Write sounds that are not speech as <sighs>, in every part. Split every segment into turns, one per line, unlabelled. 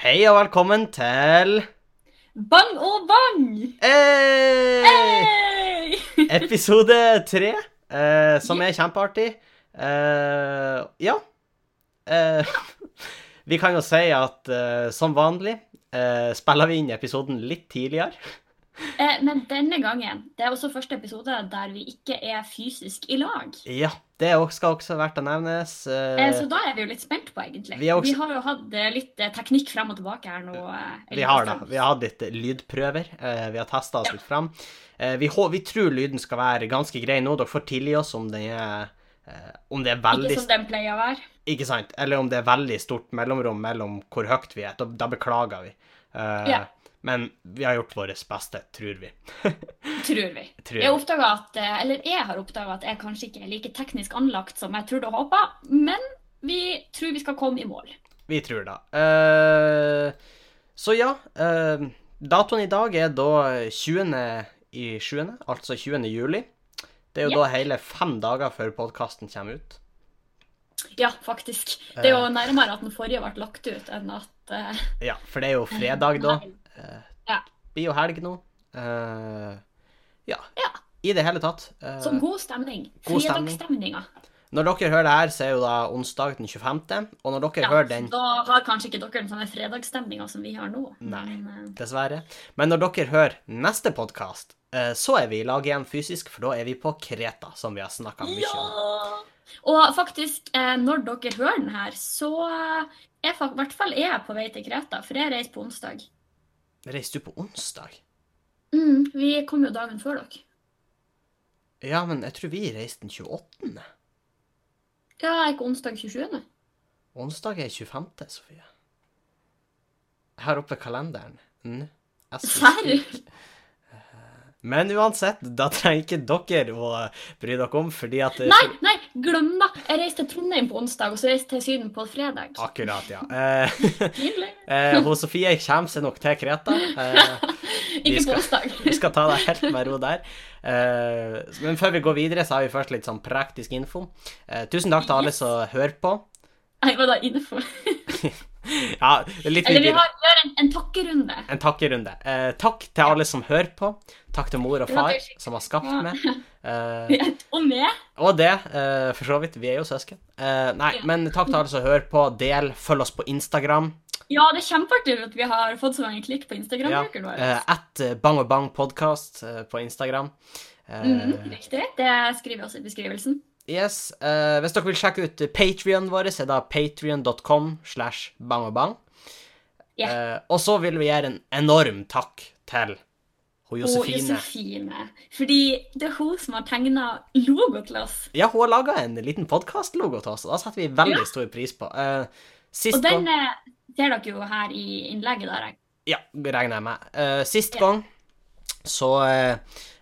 Hei og velkommen til
Bang og bang!
eh,
Hey! <laughs>
episode tre, eh, som er kjempeartig. Eh, ja. Eh, <laughs> vi kan jo si at eh, som vanlig eh, spiller vi inn episoden litt tidligere.
Eh, men denne gangen, det er også første episode der vi ikke er fysisk i lag.
Ja, det er også- skal også være verdt å nevnes.
Eh,
Eh,
så da er vi jo litt spent på, egentlig.
Vi er også-
har jo hatt eh, litt eh, teknikk frem og tilbake her nå. eh,
vi har det.
Elvestad.
Vi har hatt litt lydprøver. eh, vi har testa oss litt fram. Eh, vi, hå- vi tror lyden skal være ganske grei nå. Dere får tilgi oss om den er, eh, om det er veldig
Ikke som den pleier å være.
Ikke sant? Eller om det er veldig stort mellomrom mellom hvor høyt vi er. Da, da beklager vi. Eh,
Ja.
Men vi har gjort vårt beste, tror vi.
Tror vi.
Tror vi.
Jeg, oppdaget at, eh, eller jeg har oppdaga at jeg kanskje ikke er like teknisk anlagt som jeg trodde og håpa, men vi tror vi skal komme i mål.
Vi tror da. Eh, så ja, eh, datoen i dag er da 20. i 7., altså 20. juli. Det er jo
Ja.
da hele fem dager før podkasten kommer ut.
Ja, faktisk. Det er jo
Eh.
nærmere at den forrige ble lagt ut, enn at eh,
Ja, for det er jo fredag
<laughs>
da.
Nei.
Eh,
Ja.
Blir jo helg nå. Eh, ja.
Ja.
I det hele tatt. eh,
Som god stemning.
God stemning.
Fredagsstemninga.
Når dere hører det her, så er jo da onsdag den 25. Og når dere
Ja,
hører den,
Da har kanskje ikke dere den samme fredagsstemninga som vi har nå.
Nei.
Men, eh,
dessverre Men når dere hører neste podkast, så er vi i lag igjen fysisk, for da er vi på Kreta, som vi har snakka
eh,
mye
ja!
om.
Og faktisk, eh, når dere hører den her, så eh, er fak- i hvert fall jeg på vei til Kreta, for jeg reiser på onsdag.
Reiste du på onsdag?
Mm, vi kom jo dagen før dere.
Ja, men jeg tror vi reiste den 28.
Ja, er ikke onsdag 27.?
Onsdag er 25., Sofie. Her oppe kalenderen. Mm. Jeg synes-
Serr?
Men uansett, da trenger ikke dere å bry dere om, fordi at
Nei, nei, glem det! Jeg reiser til Trondheim på onsdag, og så reiser jeg til Syden på fredag.
Akkurat, ja. Eh, <laughs>
Pinlig.
eh, hun Sofie kommer seg nok til Kreta. Eh,
Ikke
skal-
på onsdag.
<laughs> Vi skal ta deg helt med ro der. Eh, men før vi går videre, så har vi først litt sånn praktisk info. Eh, tusen takk til alle
Yes.
som hører på. <laughs>
Nei, hva da, innenfor?
Ja, det er litt
Eller vi
videre.
har, gjør en, en takkerunde.
<laughs> En takkerunde. Eh, takk til alle som hører på. Takk til mor og
Ja,
far,
det er skikkelig.
som har skapt
<laughs> Ja.
meg. Eh,
Og med
og det, eh, for så vidt. Vi er jo søsken. Eh, nei,
Ja.
men takk til alle som hører på. Del, følg oss på Instagram.
Ja, det er kjempeartig at vi har fått så mange klikk på Instagram-brukeren vår.
Eh, At eh, Bang og Bang Podcast eh, på Instagram. Eh,
Mm, riktig. Det skriver vi også i beskrivelsen.
Yes. eh, hvis dere vil sjekke ut Patrionen vår, så er det patrion.com slash bangobang.
Ja.
Eh, og så vil vi gjøre en enorm takk til hun
Og
Josefine.
Josefine. Fordi det er hun som har tegna logo til oss.
ja, hun har laga en liten podkastlogo til oss, og da setter vi veldig stor pris på. Eh, sist
Og den
gang
eh, ser dere jo her i innlegget der. eh. jeg.
Ja, regner jeg med. Eh, sist gang så eh,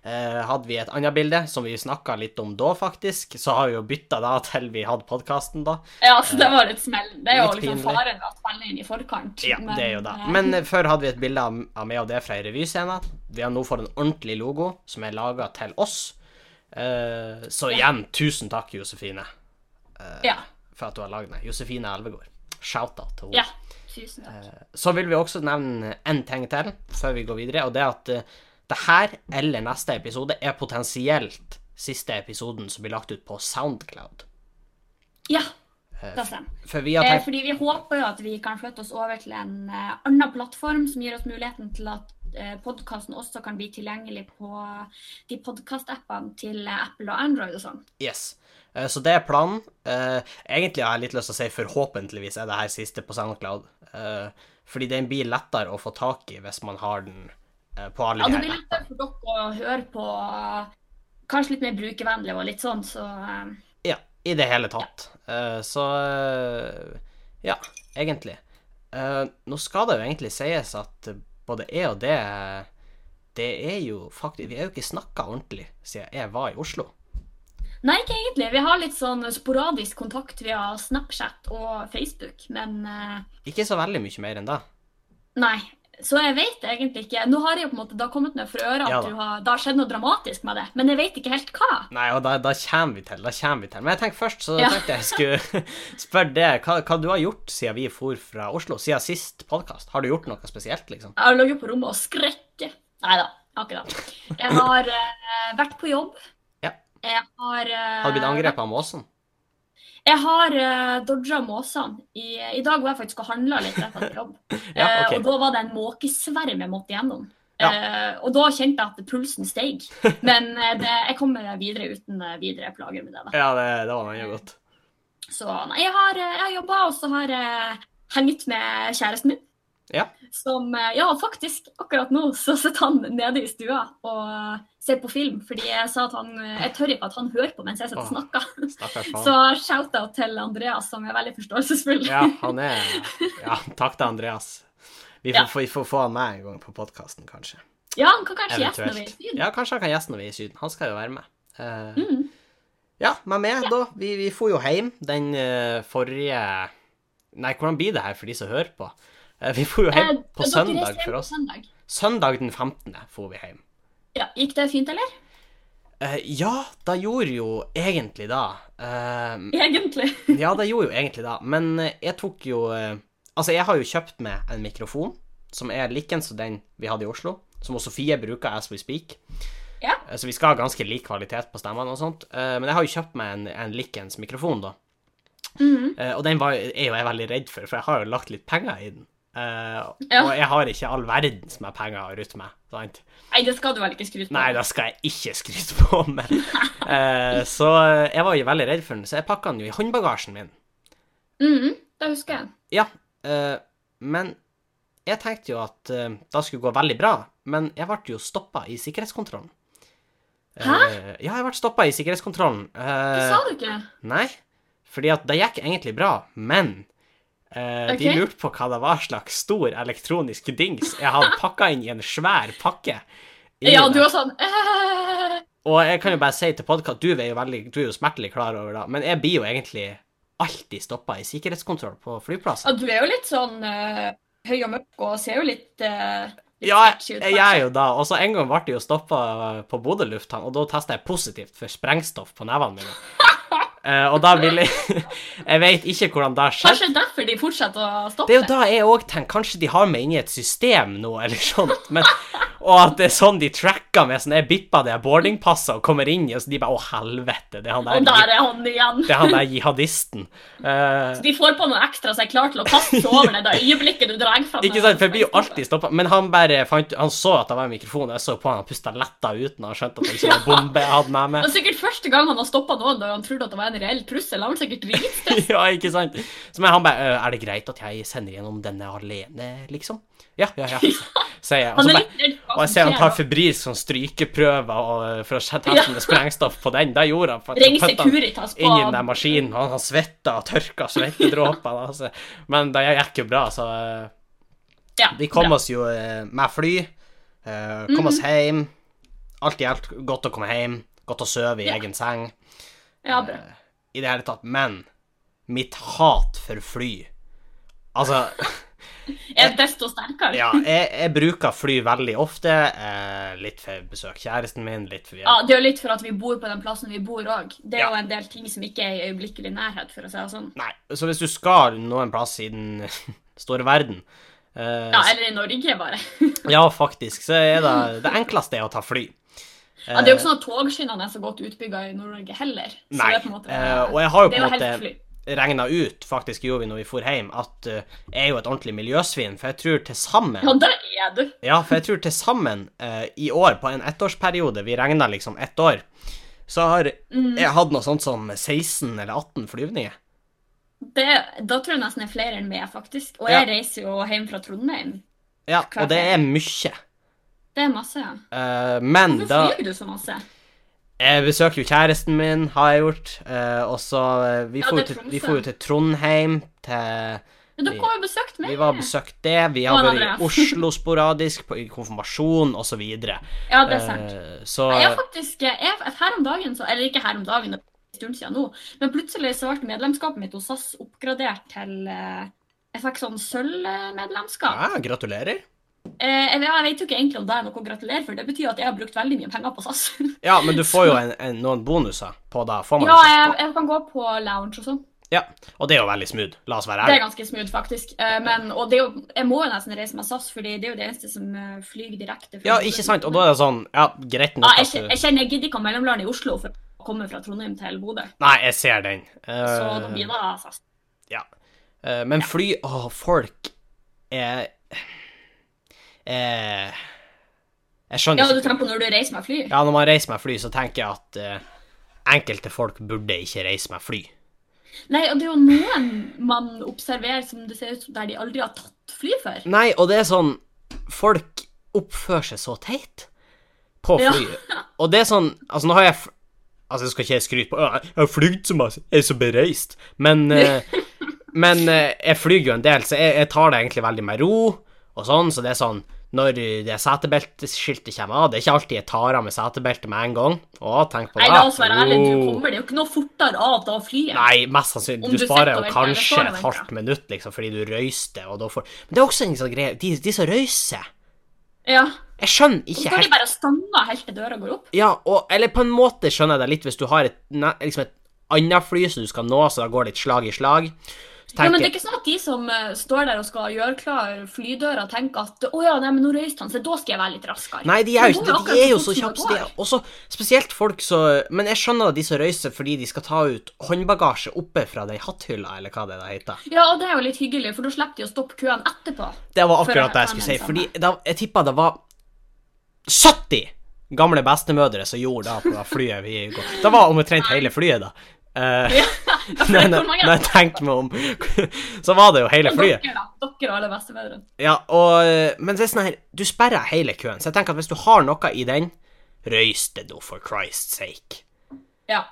eh, hadde vi et annet bilde, som vi snakka litt om da, faktisk. Så har vi jo bytta da til vi hadde podkasten, da.
Ja, så det var litt smell. Det er jo
Litt
liksom
pinlig.
faren ved å spille inn i forkant.
Ja, det er jo det.
eh,
Men eh, før hadde vi et bilde av- av meg og det fra ei revyscene. Vi har nå fått en ordentlig logo som er laga til oss. Eh, Så igjen, tusen takk, Josefine,
eh, ja.
for at du har lagd den. Josefine Elvegård. Shout-out til henne.
ja. Tusen takk.
Så vil vi også nevne én ting til før vi går videre, og det er at eh, det her eller neste episode er potensielt siste episoden som blir lagt ut på Soundcloud.
Ja, det stemmer.
For vi har
Eh,
tenkt
Fordi vi håper jo at vi kan flytte oss over til en eh, annen plattform som gir oss muligheten til at podkasten også kan bli tilgjengelig på de podkastappene til eh, Apple og Android og sånn.
Yes. Eh, Så det er planen. Eh, Egentlig har jeg litt lyst til å si forhåpentligvis er det her siste på SoundCloud. eh, Fordi den blir lettere å få tak i hvis man har den eh, på alle
Ja, det
de
blir
her.
lettere for dere å høre på eh, kanskje litt mer brukervennlig og litt sånn, så eh,
Ja, i det hele tatt. Eh, Så eh, ja, egentlig. Eh, Nå skal det jo egentlig sies at både jeg og det Det er jo faktisk Vi er jo ikke snakka ordentlig siden jeg var i Oslo.
Nei, ikke egentlig. Vi har litt sånn sporadisk kontakt via Snapchat og Facebook, men eh,
Ikke så veldig mye mer enn det.
Nei. Så jeg vet egentlig ikke. Nå har jeg jo på en måte da kommet meg for øre at
Ja da.
du har, det har skjedd noe dramatisk med det, men jeg vet ikke helt hva.
Nei, og da, da kommer vi til, da kommer vi til. Men jeg tenkte først, så
Ja.
tenkte jeg skulle <laughs> spørre deg, hva, hva du har gjort siden vi for fra Oslo, siden sist podcast? Har du gjort noe spesielt, liksom?
Jeg har ligget på rommet og skrekket. Nei da, jeg har ikke det. Jeg har eh, vært på jobb.
Ja.
Jeg har eh,
Har du blitt angrepet av måsen?
Jeg har uh, dodga måsene. I, I dag var jeg faktisk og handla litt rett etter jobb.
<laughs> Ja, ok.
Eh, og da var det en måkesverm jeg måtte gjennom.
Ja.
Eh, og da kjente jeg at pulsen steg.
<laughs>
Men eh, det, jeg kommer videre uten eh, videre plager med det. Da.
Ja, det, det var mye godt.
Så nei, jeg har, eh, jeg har jobba, og så har jeg hengt med kjæresten min.
Ja.
Som eh, Ja, faktisk, akkurat nå så sitter han nede i stua og ser på film. Fordi jeg sa at han eh, Jeg tør ikke at han hører på mens jeg sitter
Åh.
og snakker.
Stakkars
Så
faen.
shout-out til Andreas, som er veldig forståelsesfull.
Ja, han er, ja, takk til Andreas. Vi får,
Ja.
vi får få han med en gang på podcasten, kanskje.
<laughs> Ja, han kan kanskje gjeste når vi er i
Eventuelt.
Syden.
Ja, kanskje han kan gjeste når vi er i syden. Han skal jo være med. Eh,
Mm.
Ja, men meg, da. Vi, vi for jo hjem den eh, forrige Nei, hvordan blir det her for de som hører på? Eh, vi for jo hjem
Eh,
på
dere
søndag
reiser hjem
for
på
oss.
søndag.
Søndag den 15. for vi hjem.
Ja, gikk det fint, eller? <laughs>
Eh, ja, da gjorde jo egentlig da eh,
Egentlig.
Ja, det gjorde jo egentlig det, men eh, jeg tok jo eh, Altså, jeg har jo kjøpt meg en mikrofon som er likens som den vi hadde i Oslo, som også Sofie bruker as we speak.
Ja.
Eh, Så vi skal ha ganske lik kvalitet på stemmene og sånt. eh, Men jeg har jo kjøpt meg en, en likens mikrofon, da.
Mhm.
Eh, Og den var, er jo jeg veldig redd for, for jeg har jo lagt litt penger i den. Eh,
Ja.
Og jeg har ikke all verdens med penger å rutte med. Sant?
Nei, det skal du vel ikke skryte på.
Nei, da skal jeg ikke skryte på <laughs> meg. Eh, så jeg var jo veldig redd for den, så jeg pakka den jo i håndbagasjen min.
Mhm, da husker jeg.
Ja, eh, men jeg tenkte jo at eh, det skulle gå veldig bra, men jeg ble jo stoppa i sikkerhetskontrollen.
Hæ?
Eh, ja, jeg ble stoppa i sikkerhetskontrollen.
Det
Eh,
sa du ikke.
Nei, fordi at det gikk egentlig bra, men eh, de
Ok.
lurte på hva det var slags stor elektronisk dings jeg hadde pakka inn i en svær pakke. i
Ja,
det.
du var sånn <laughs> eh,
Og jeg kan jo bare si til podkast, du er jo veldig, du er jo smertelig klar over det, men jeg blir jo egentlig alltid stoppa i sikkerhetskontroll på
ja,
flyplassen.
Du er jo litt sånn eh, høy og mørk og ser jo litt eh, litt
Ja,
sketchy
jeg
ut,
jeg er jo da, og så en gang ble jeg jo stoppa på Bodø lufthavn, og da testa jeg positivt for sprengstoff på nevene
<laughs>
mine. Eh, og da ville jeg <laughs> Jeg vet ikke hvordan det skjedde.
Kanskje derfor de fortsetter å stoppe.
Det er jo da jeg òg tenker Kanskje de har meg inni et system nå, eller sånt. Men, og at det er sånn de tracker meg, sånn jeg bipper det boardingpasset og kommer inn, og så de bare Å, helvete, det er han
Og der
der,
er han igjen.
det er han der jihadisten. Eh,
De får på noe ekstra så er klar til å kaste seg over det da øyeblikket du drar fram.
ikke sant, for jeg blir jo alltid stoppa. Men han bare fant Han så at det var en mikrofon, og jeg så på han, han pusta letta ut når han skjønte at det ikke var en bombe jeg hadde med meg. <laughs>
Det er sikkert første gang han har stoppa noen da han trodde at det var en reell trussel. Han var sikkert dritstressa.
ja, ikke sant? Så men han bare «Øh, Er det greit at jeg sender gjennom denne alene, liksom? Ja, ja, ja. Sier jeg. <laughs> Og
Han
så
er
bare
litt redd for
Og
hva
jeg ser
som
han tar
skjer.
febrilsk sånn strykeprøver og, eh, for å se- teste med sprengstoff på den. Det gjorde han. for at
da. Ring
han puttet den
Securitas på
Inn i den der maskinen. Han, han svetta og tørka svettedråpene. Altså. Men det gikk jo bra, så eh,
Ja, Mhm.
vi kom
bra.
oss jo eh, med fly. eh, Kom oss hjem. Alt i alt godt å komme hjem. Godt å sove i
Ja.
egen seng.
Ja, bra.
I det hele tatt. Men mitt hat for fly Altså
Er desto sterkere.
Ja, jeg, jeg bruker fly veldig ofte. Eh, litt for besøk kjæresten min, litt for
Ja, Det er jo litt for at vi bor på den plassen vi bor òg. Det er
Ja.
jo en del ting som ikke er i øyeblikkelig nærhet, for å si det sånn.
Nei, så hvis du skal noen plass i den <laughs> store verden eh,
Ja, Eller i Norge, bare.
ja, faktisk, så er det det enkleste er å ta fly.
Ja, Det er jo ikke sånn at togskinnene er så godt utbygga i Nord-Norge heller. Så
Nei,
det er på en måte
eh, og jeg har jo
Det
på
er jo
en
helt fly.
måte regna ut, faktisk gjorde vi når vi for hjem, at eh, jeg er jo et ordentlig miljøsvin, for jeg tror til sammen
Ja, der er du.
Ja, for jeg tror til sammen eh, i år, på en ettårsperiode, vi regna liksom ett år, så har jeg hatt noe sånt som 16 eller 18 flyvninger.
Det, da tror jeg nesten det er flere enn meg, faktisk. Og
Ja.
jeg reiser jo hjem fra Trondheim.
Ja,
Hver
og det er mye.
Det er masse, ja.
Eh, men da
Hvorfor flyr du så masse?
Jeg besøker Eh, jo kjæresten min, har jeg gjort. eh, og så eh, Vi
Ja,
for jo
det er
til, vi
Tromsø.
for jo til Trondheim. Til,
Ja, Dere har jo besøkt meg.
vi var og besøkte det. Vi har
Og
vært i
Andreas.
Oslo sporadisk, på, i konfirmasjon osv. Så,
Ja, det er sant.
uh, så
Jeg er faktisk jeg, Her om dagen, så, eller ikke her om dagen, det er en stund siden nå, men plutselig så ble medlemskapet mitt hos SAS oppgradert til eh, Jeg fikk sånn sølvmedlemskap.
ja, Gratulerer.
Eh, eller jeg vet jo ikke egentlig om det er noe å gratulere for. Det betyr at jeg har brukt veldig mye penger på SAS.
Ja, men du får jo en, en, noen bonuser på det. Får man
ja,
ikke?
jeg, jeg kan gå på lounge og sånn.
Og det er jo veldig smooth. La oss være
Det er
ærlige.
ganske smooth, faktisk. Eh, men, og det er jo, jeg må jo nesten reise med SAS, fordi det er jo det eneste som eh, flyr direkte.
Ja, ikke sant? Og da er det sånn Ja, greit
Ja,
nok
jeg,
at du
kjen- jeg kjenner jeg gidder ikke å mellomlande i Oslo for å komme fra Trondheim til Bodø.
Nei, jeg ser den.
Så
Eh,
da blir det SAS.
eh, men fly Å, folk er eh, Jeg skjønner
Ja,
ikke
du tenker på når du reiser med fly?
Ja, når man reiser med fly, så tenker jeg at eh, enkelte folk burde ikke reise med fly.
Nei, og det er jo noen man observerer som det ser ut som der de aldri har tatt fly før.
Nei, og det er sånn Folk oppfører seg så teit på
Ja.
fly. Og det er sånn Altså, nå har jeg f- Altså, jeg skal ikke skryte på «Å, Jeg har flydd så mye, jeg er så bereist, men
<laughs>
eh, Men eh, jeg flyr jo en del, så jeg, jeg tar det egentlig veldig med ro og sånn, så det er sånn når det setebelteskiltet kommer av Det er ikke alltid jeg tar av meg setebeltet med en gang. Å, tenk på
Nei,
det.
la oss være ærlige, du
Oh.
kommer det jo ikke noe fortere av da flyet.
Nei, mest sannsynlig.
Om
Du,
du
sparer
sitter og
jo
venter,
kanskje
eller står og
et halvt minutt, liksom, fordi du røyster, og da får Men det er også en sånn greie De, de som røyser
Ja.
Jeg skjønner
Så
ikke
står de
helt
bare og stanger helt til døra går opp.
Ja, og Eller på en måte skjønner jeg det litt, hvis du har et, ne- liksom et annet fly som du skal nå, så da går litt slag i slag. Så
Ja, men det
tenker
er ikke sånn at de som eh, står der og skal gjøre klar flydøra, tenker at å ja, nei, men nå røyste han seg, da skal jeg være litt raskere.
Nei, de er jo ikke
går
det.
akkurat
De er jo så
fort som det
kjappe. de er-
går.
Også spesielt folk som Men jeg skjønner de som røyser fordi de skal ta ut håndbagasje oppe fra den hatthylla, eller hva det da heter.
Ja, og det er jo litt hyggelig, for da slipper de å stoppe køen
<laughs>
etterpå.
Det var
For å
akkurat det jeg
ta
skulle
den
si. Fordi da, jeg tippa det var 70 gamle bestemødre som gjorde det på det flyet vi går. Det var omtrent hele flyet, da. Eh, <laughs> nei, nei,
hvor mange-
nei, tenk meg om. Så var det jo hele flyet.
Dere, da. Dere og alle bestemødrene.
Ja, og, eh, men det er sånn her, du sperrer hele køen. Så jeg tenker at hvis du har noe i den, røys det nå, for Christ's sake.
Ja.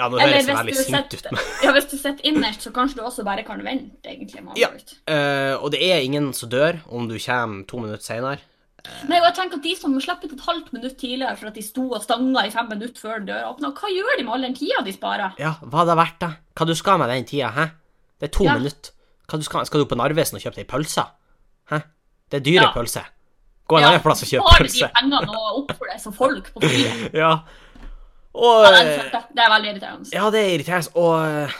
Ja, nå
Eller
høres jeg liksom veldig
hvis du,
sint ut.
sitter, ja, hvis du sitter innerst, så kanskje du også bare kan vente, egentlig. med å
Ja.
gå ut.
Eh, og det er ingen som dør om du kommer to minutter senere.
Nei, og jeg tenker at De som slipper ut et halvt minutt tidligere for at de sto og stanga i fem minutter før døra åpna, hva gjør de med all den tida de sparer?
Ja, hva det er verdt, da? Hva du skal med den tida, hæ? Det er to
Ja.
minutter. Hva du skal, skal du på Narvesen og kjøpe deg pølser? Hæ? Det er dyre
Ja.
pølser. Gå en annen plass og kjøp
Spar de
pølse.
pengene og oppfør deg som folk på
<laughs>
flyet.
Ja. Og
Ja, den skjønte jeg. Det er veldig irriterende.
Ja, det er irriterende. Og eh,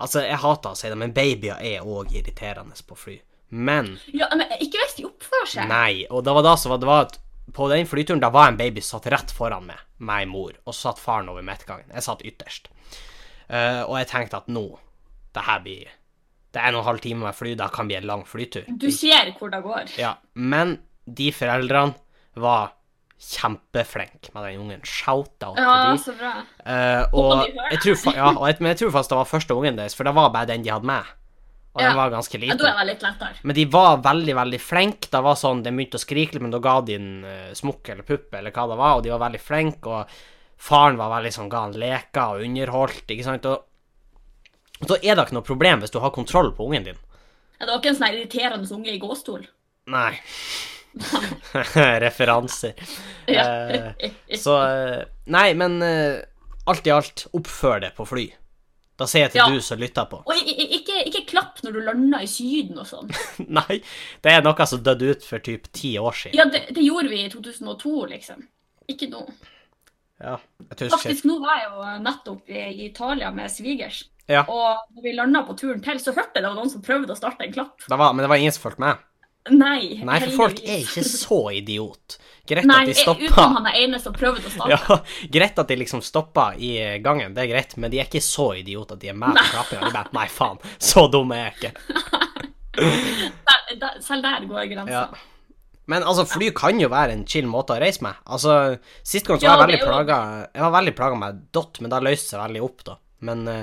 Altså, jeg hater å si det, men babyer er òg irriterende på fly. Men
Ja, men Ikke hvis de oppfører seg.
nei. Og det var da som var det var at på den flyturen, da var en baby som satt rett foran meg, meg mor, og så satt faren over midtgangen. Jeg satt ytterst. Eh, og jeg tenkte at nå, det her blir Det er en og en halv time med fly, det kan bli en lang flytur.
Du ser hvor det går.
Ja, men de foreldrene var kjempeflinke med den ungen. Shout-out til
Ja, altså.
de.
så bra.
Eh,
Håper
og
de hører
jeg tror, fa- ja, og jeg, men jeg tror faktisk det var første ungen deres, for det var bare den de hadde med. Og
Ja.
den var ganske
Ja, Da
liten.
er det litt lettere.
Men de var veldig, veldig flinke. Det var sånn, De begynte å skrike, litt, men da ga de en eh, smokk eller pupp eller hva det var, og de var veldig flinke, og faren var veldig sånn, ga han leker og underholdt, ikke sant. Og, og da er det ikke noe problem hvis du har kontroll på ungen din.
Ja, Det var ikke en sånn irriterende unge i gåstol.
Nei. <laughs> Referanser.
Ja.
Eh, Så eh, Nei, men eh, alt i alt, oppfør deg på fly. Da sier jeg til
Ja.
du som lytter på.
<laughs> Og i- i- ikke, ikke klapp når du lander i Syden og sånn.
<laughs> Nei, det er noe som døde ut for typ ti år siden.
Ja, det, det gjorde vi i 2002, liksom. Ikke nå.
Ja, jeg husker.
Faktisk, nå var jeg jo nettopp i i Italia med svigers.
Ja.
Og når vi landa på turen til, så hørte jeg det var noen som prøvde å starte en klapp.
Det var, men det var ingen som fulgte med.
Nei.
Nei, for folk er
heldigvis.
ikke så idiot. Greit
Nei,
at de
utenom
stoppa
han er ene som prøvde å
<laughs>
starte.
ja, greit at de liksom stoppa i gangen, det er greit, men de er ikke så idiot at de er med på klappinga. De bare Nei, faen, så dum er jeg ikke.
Der, der, selv der går
Ja.
grensa.
Men altså, fly kan jo være en chill måte å reise med. Altså, Sist gang så
Ja,
var jeg veldig
det er jo-
plaga Jeg var veldig plaga med dott, men det løste seg veldig opp, da. Men eh,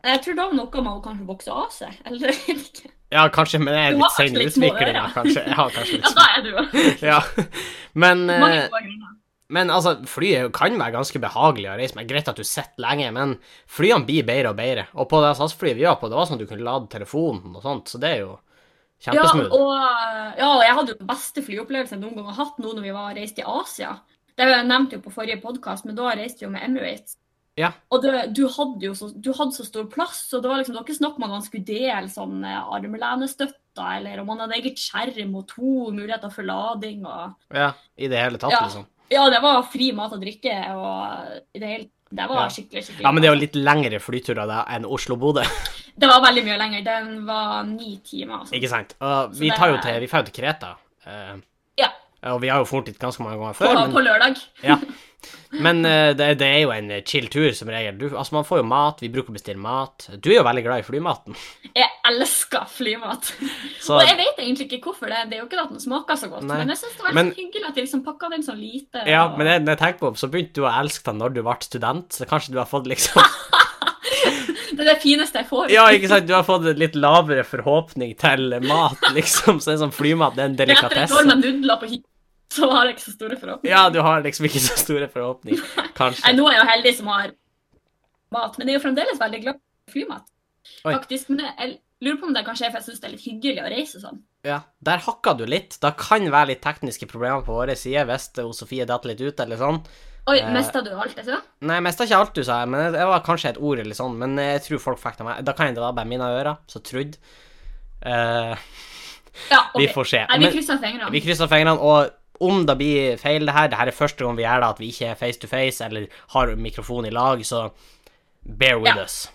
Jeg tror det var noe med å kanskje vokse av seg, eller <laughs> ikke.
Ja, kanskje, men jeg er litt
Du har kanskje
sein i
litt små
utviklinga,
ører.
kanskje. Jeg har kanskje litt
<laughs> Ja, da er du jo.
Ja, men,
Mange
eh,
gode grunner.
men altså, fly er jo- kan være ganske behagelig å reise med. Greit at du sitter lenge, men flyene blir bedre og bedre. Og på det SAS-flyet vi var på, det var sånn at du kunne lade telefonen og sånt, så det er jo
Ja,
kjempesmooth.
og, ja, og jeg hadde jo den beste flyopplevelsen jeg noen gang har hatt nå når vi var reist i Asia. Det nevnte jeg jo på forrige podkast, men da reiste vi jo med Emirates.
Ja.
Og det, du hadde jo så, du hadde så stor plass, og det var liksom det var ikke snakk om at man skulle dele sånn eh, armlenestøtte rabatter, eller om man hadde eget skjerm og to muligheter for lading og
Ja, i det hele tatt,
Ja.
liksom.
Ja, det var fri mat og drikke, og i det hele Det var
Ja.
skikkelig, skikkelig
Ja, men det er jo litt lengre flyturer da enn Oslo-Bodø, <laughs>
Det var veldig mye lenger. Den var ni timer. Altså.
ikke sant? Og vi
Så det
tar jo
er-
til, vi drar jo til Kreta, eh,
Ja,
og vi har jo fort dit ganske mange ganger
på,
før, men
på lørdag.
Ja. Men eh, det, det er jo en chill tur, som regel. Du, altså, man får jo mat, vi bruker å bestille mat. Du er jo veldig glad i flymaten, <laughs>
Jeg elsker flymat.
så
Og jeg vet egentlig ikke hvorfor det. Det er jo ikke at den smaker så godt.
Nei.
Men jeg syns det var
Men-
litt hyggelig at de liksom pakka den så lite.
Ja,
og-
men jeg, når jeg tenker på det, så begynte du å elske den når du ble student, så kanskje du har fått liksom
Det er det fineste jeg får.
<laughs> Ja, ikke sant, du har fått en litt lavere forhåpning til mat, liksom, så en sånn flymat, det er en
Det er Etter et år
delikatesse.
med nudler på hytta, så har jeg ikke så store forhåpninger.
Ja, du har liksom ikke så store forhåpninger,
Nei,
kanskje.
nå er jeg jo heldig som har mat, men jeg er jo fremdeles veldig glad i flymat.
Oi.
Faktisk, men jeg- jeg lurer på om det kanskje er for jeg syns det er litt hyggelig å reise sånn.
Ja, der hakka du litt. Det kan være litt tekniske problemer på vår side hvis det- hun Sofie datt litt ut, eller sånn.
Oi,
Eh.
mista du alt jeg sa?
Nei, jeg mista ikke alt du sa, men det var kanskje et ord eller sånn. Men jeg tror folk fikk det med. Da kan jeg- det var bare mine ører som trodde. Eh,
Ja, ok.
Vi får se.
Nei, vi
Men
krysser fingrene.
vi krysser fingrene, og om det blir feil, det her Det her er første gang vi gjør det, at vi ikke er face to face eller har mikrofon i lag, så bear with
Ja.
us.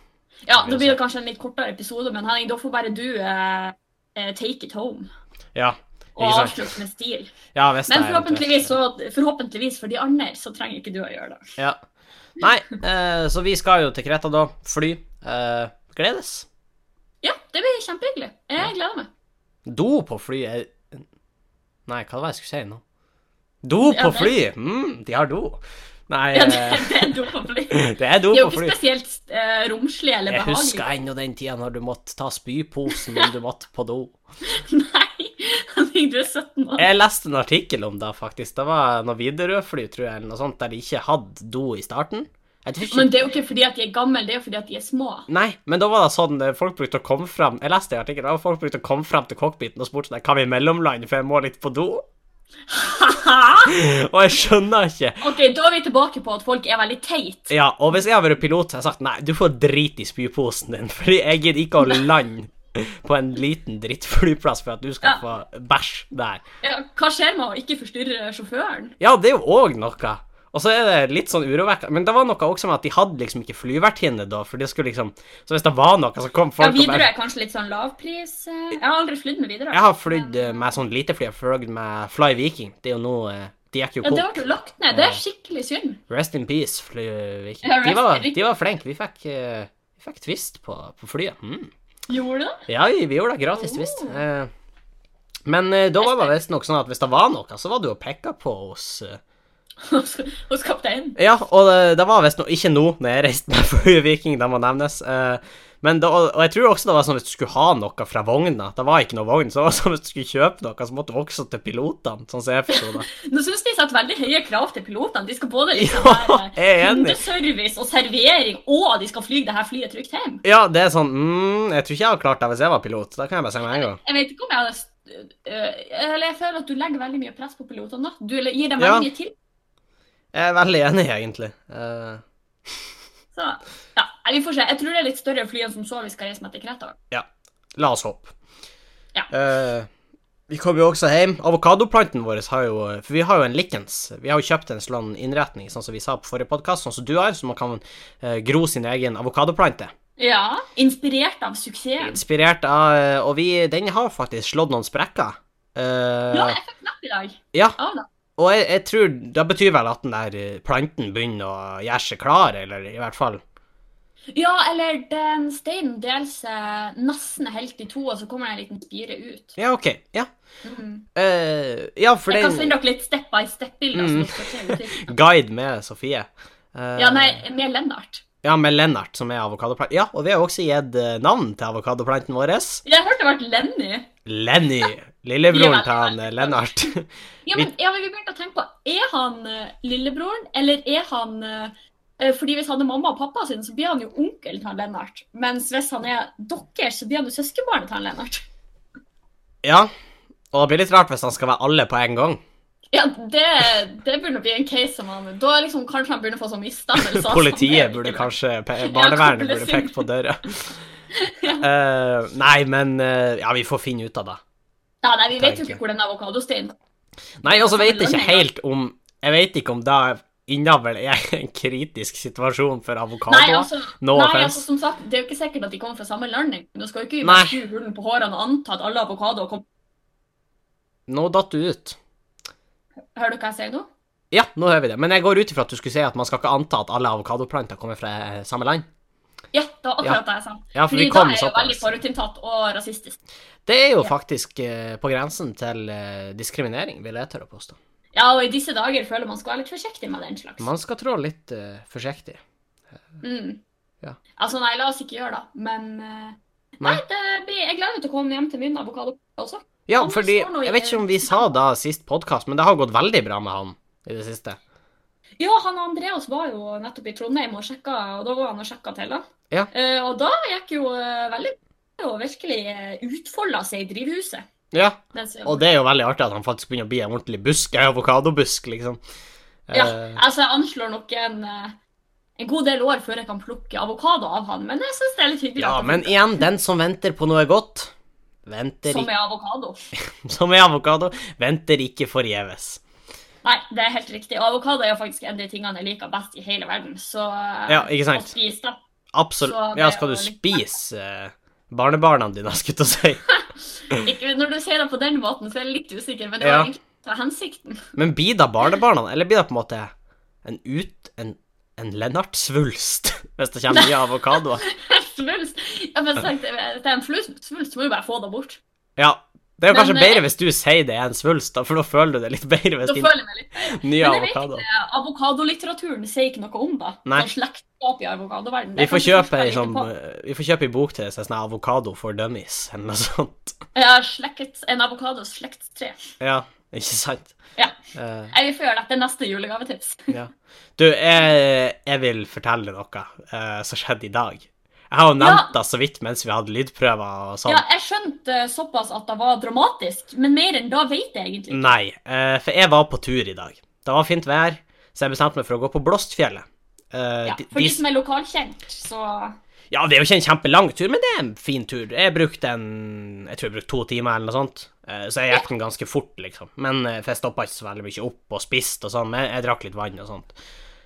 Ja, Da blir det kanskje en litt kortere episode, men Henning, da får bare du eh, eh, take it home.
Ja,
Og
ikke sant?
avslutte med stil.
Ja, hvis det er
Men
eventuelt.
forhåpentligvis, så, forhåpentligvis for de andre, så trenger ikke du å gjøre det.
Ja. Nei, eh, så vi skal jo til Kreta, da. Fly. Eh, gledes.
Ja, det blir kjempehyggelig. Jeg gleder meg. <laughs>
Do på fly er Nei, hva var det jeg skulle si nå? Do
Ja,
på
det-
fly! Mm, de har do. Nei,
Ja, det,
eh,
det er dumt
<laughs>
å bli.
det er do
Det er jo
på fly.
ikke spesielt eh, romslig eller
Jeg
behagelig.
husker ennå den tida når du måtte ta spyposen om du måtte på do.
<laughs> Nei, Henning, du er 17 år.
Jeg leste en artikkel om det, faktisk. Det var noe Widerøe-fly, tror jeg, eller noe sånt, der de ikke hadde do i starten. Jeg tror ikke
Men det er jo ikke fordi at de er gamle, det er jo fordi at de er små. <laughs>
Nei, men da var det sånn eh, folk brukte å komme fram Jeg leste en artikkel, da var folk brukte å komme fram til cockpiten og spurte sånn Kan vi mellomlande, for jeg må litt på do?
Haha!
Og jeg skjønner ikke.
OK, da er vi tilbake på at folk er veldig teit.
Ja, og hvis jeg hadde vært pilot, så hadde jeg sagt nei, du får drit i spyposen din, <laughs> fordi jeg gidder ikke å lande på en liten drittflyplass for at du skal
Ja.
få bæsj der.
Ja, hva skjer med å ikke forstyrre sjåføren?
Ja, det er jo òg noe. Og så er det litt sånn urovekkende. Men det var noe også med at de hadde liksom ikke flyvertinne da, for det skulle liksom Så hvis det var noe, så kom
Ja,
folk og
Widerøe
bare
er kanskje litt sånn lavpris. eh, Jeg har aldri flydd med Widerøe.
Jeg har flydd eh, med sånn lite fly, jeg har flydd med Fly Viking. Det er jo nå eh, De gikk jo
Ja, det
konk.
ble jo lagt ned. Det er skikkelig synd.
Rest in peace, Fly Viking.
Ja,
De
rest-
var, de var flinke. Vi fikk, eh, vi fikk twist på, på flyet. Mm.
Gjorde <laughs> det?
Ja, vi gjorde det gratis,
Oh.
visst. Eh, Men eh, da var det visstnok sånn at hvis det var noe, så var det jo å peke på oss. eh.
Hos hos kapteinen.
Ja, og det, det var visstnok ikke nå, når jeg reiste meg for <laughs> Viking, det må nevnes. eh, Men da, og jeg tror også det var sånn hvis du skulle ha noe fra vogna, det var ikke noe vogn, så det var sånn hvis du skulle kjøpe noe, så måtte du også til pilotene, sånn som jeg forsto det.
Nå syns de setter veldig høye krav til pilotene. De skal både liksom
Ja,
være
jeg er enig.
kundeservice og servering, og de skal fly det her flyet trygt hjem.
Ja, det er sånn mm, Jeg tror ikke jeg hadde klart det hvis jeg var pilot, det kan jeg bare si med en gang.
Jeg vet ikke om jeg hadde st- øh, Eller jeg føler at du legger veldig mye press på pilotene. da. Du eller gir dem
Ja.
veldig mye til.
Jeg er veldig enig, egentlig. Eh,
Så ja, nei, vi får se. Jeg tror det er litt større fly enn som så vi skal reise med til Kreta.
La oss håpe.
Ja.
Eh, vi kom jo også hjem. Avokadoplanten vår har jo For vi har jo en likens. Vi har jo kjøpt en sånn innretning, sånn som vi sa på forrige podkast, sånn som du har, så man kan eh, gro sin egen avokadoplante.
Ja, inspirert av suksessen.
Inspirert av eh, Og vi, den har faktisk slått noen sprekker. Eh,
Ja, jeg fikk knapp i dag.
Ja.
Av da.
Og jeg, jeg tror Det betyr vel at den der eh, planten begynner å gjøre seg klar, eller i hvert fall
ja, eller den steinen deler seg nesten helt i to, og så kommer det en liten spire ut.
Ja, OK. Ja.
Mm.
Eh, ja, for
Jeg kan sende
den
dere litt step by step-bilder.
Mm.
Mm.
Guide med Sofie. Eh,
Ja, nei, med Lennart.
Ja, med Lennart, som er avokadoplanten. Ja, og vi har også gitt eh, navn til avokadoplanten vår.
Jeg hørte det ble Lenny.
Lenny. Lillebroren til han eh, Lennart. <laughs>
Ja, men, ja, men vi begynte å tenke på Er han eh, lillebroren, eller er han eh, Fordi hvis han er mamma og pappa sin, så blir han jo onkel til han Lennart. Mens hvis han er deres, så blir han jo søskenbarnet til han Lennart. <laughs>
Ja. Og det blir litt rart hvis han skal være alle på en gang.
Ja, det, det begynner å bli en case som han Da liksom kanskje han begynner å få sånn mistanke.
Politiet burde kanskje pe- Barnevernet burde
<laughs> kobles inn.
peke på døra. Eh, nei, men eh, Ja, vi får finne ut av det.
Ja, nei, vi vet jo
Tenker.
ikke hvor den avokadosteinen
Nei, og så vet jeg
Landet,
ikke
ja.
helt om Jeg vet ikke om det innavl er en kritisk situasjon for
Nei,
avokadoer.
altså,
No
nei
offense.
altså, som sagt, det er jo ikke sikkert at de kommer fra samme land. engang. Du skal jo ikke
Nei.
bare skue hulen på hårene og anta at alle avokadoer kommer
Nå datt du ut.
Hører du hva jeg sier nå?
Ja, nå hører vi det. Men jeg går ut ifra at du skulle si at man skal ikke anta at alle avokadoplanter kommer fra eh, samme land.
Ja, det var akkurat det jeg sa.
Ja, for vi
Fordi da
kom
er jeg jo veldig
såpass.
forutinntatt og rasistisk.
Det er jo
Ja.
faktisk eh, på grensen til eh, diskriminering, vil jeg tørre å påstå.
Ja, og i disse dager føler man skal være litt forsiktig med den slags.
Man skal trå litt eh, forsiktig.
Mm.
Ja.
Altså, nei, la oss ikke gjøre det, men eh, Nei,
Nei.
det blir, jeg gleder meg til å komme hjem til min avokado også.
Ja,
Han
fordi
står nå i-
Jeg vet ikke om vi sa da sist podkast, men det har gått veldig bra med han i det siste.
Ja, han Andreas var jo nettopp i Trondheim og sjekka, og da var han og sjekka til han.
Ja.
Eh, og da gikk jo eh, veldig og virkelig eh, utfolda seg i drivhuset.
Ja,
Den som-
og det er jo veldig artig at han faktisk begynner å bli en ordentlig busk, en avokadobusk, liksom.
Ja,
Eh,
altså jeg anslår nok en, eh, en god del år før jeg kan plukke avokado av han, men jeg syns det er litt hyggelig.
ja,
at han-
men igjen, den som venter på noe godt, venter
Som
ikke
er avokado.
<laughs> Som er avokado, venter ikke forgjeves.
Nei, det er helt riktig. Og avokado er jo faktisk en av de tingene jeg liker best i hele verden, så eh,
Ja, ikke sant?
å spise det. Så
Absolutt.
det
Ja,
er
skal
jo
du
litt-
spise eh, barnebarna dine, <laughs> skulle jeg til å si.
Ikke, når du sier det på den måten, så er jeg litt usikker, men det
Ja.
var egentlig ikke hensikten.
Men blir da barnebarna, eller blir det på en måte en ut... En, en Lennart-svulst, <laughs> hvis det kommer mye avokadoer?
Svulst. Jeg har bare sagt, det er en flust, svulst, så må du bare få det bort.
Ja. Det er jo
Men,
kanskje
eh,
bedre hvis du sier det er en svulst, da, for da føler du det litt bedre hvis
Da
de
føler jeg meg litt
nye
Men jeg vet
avokadoer
eh, Avokadolitteraturen sier ikke noe om det.
Nei.
Sånn slektskap i avokadoverdenen.
Vi
det
får
kan du
kjøpe
forske
ei
litt
sånn
på.
eh, Vi får kjøpe ei bok til deg som er sånn avokado for dummies, eller noe sånt.
Ja, slekt, en avokados slektstre.
Ja, ikke sant?
Ja.
Eh,
Jeg får gjøre dette neste julegavetips.
Ja. Du, jeg, jeg vil fortelle noe eh, som skjedde i dag. Jeg har jo nevnt det så vidt mens vi hadde lydprøver og sånn.
Ja, jeg skjønte såpass at det var dramatisk, men mer enn da vet jeg egentlig. ikke.
Nei, eh, for jeg var på tur i dag. Det var fint vær, så jeg bestemte meg for å gå på Blåstfjellet. Eh,
Ja,
de-
for de
de-
som er lokalkjent, så
ja, det er jo ikke en kjempelang tur, men det er en fin tur. Jeg brukte en Jeg tror jeg brukte to timer eller noe sånt. Eh, så jeg gikk den ganske fort, liksom. Men eh, for jeg stoppa ikke så veldig mye opp og spiste og sånn. Men jeg, jeg drakk litt vann og sånt.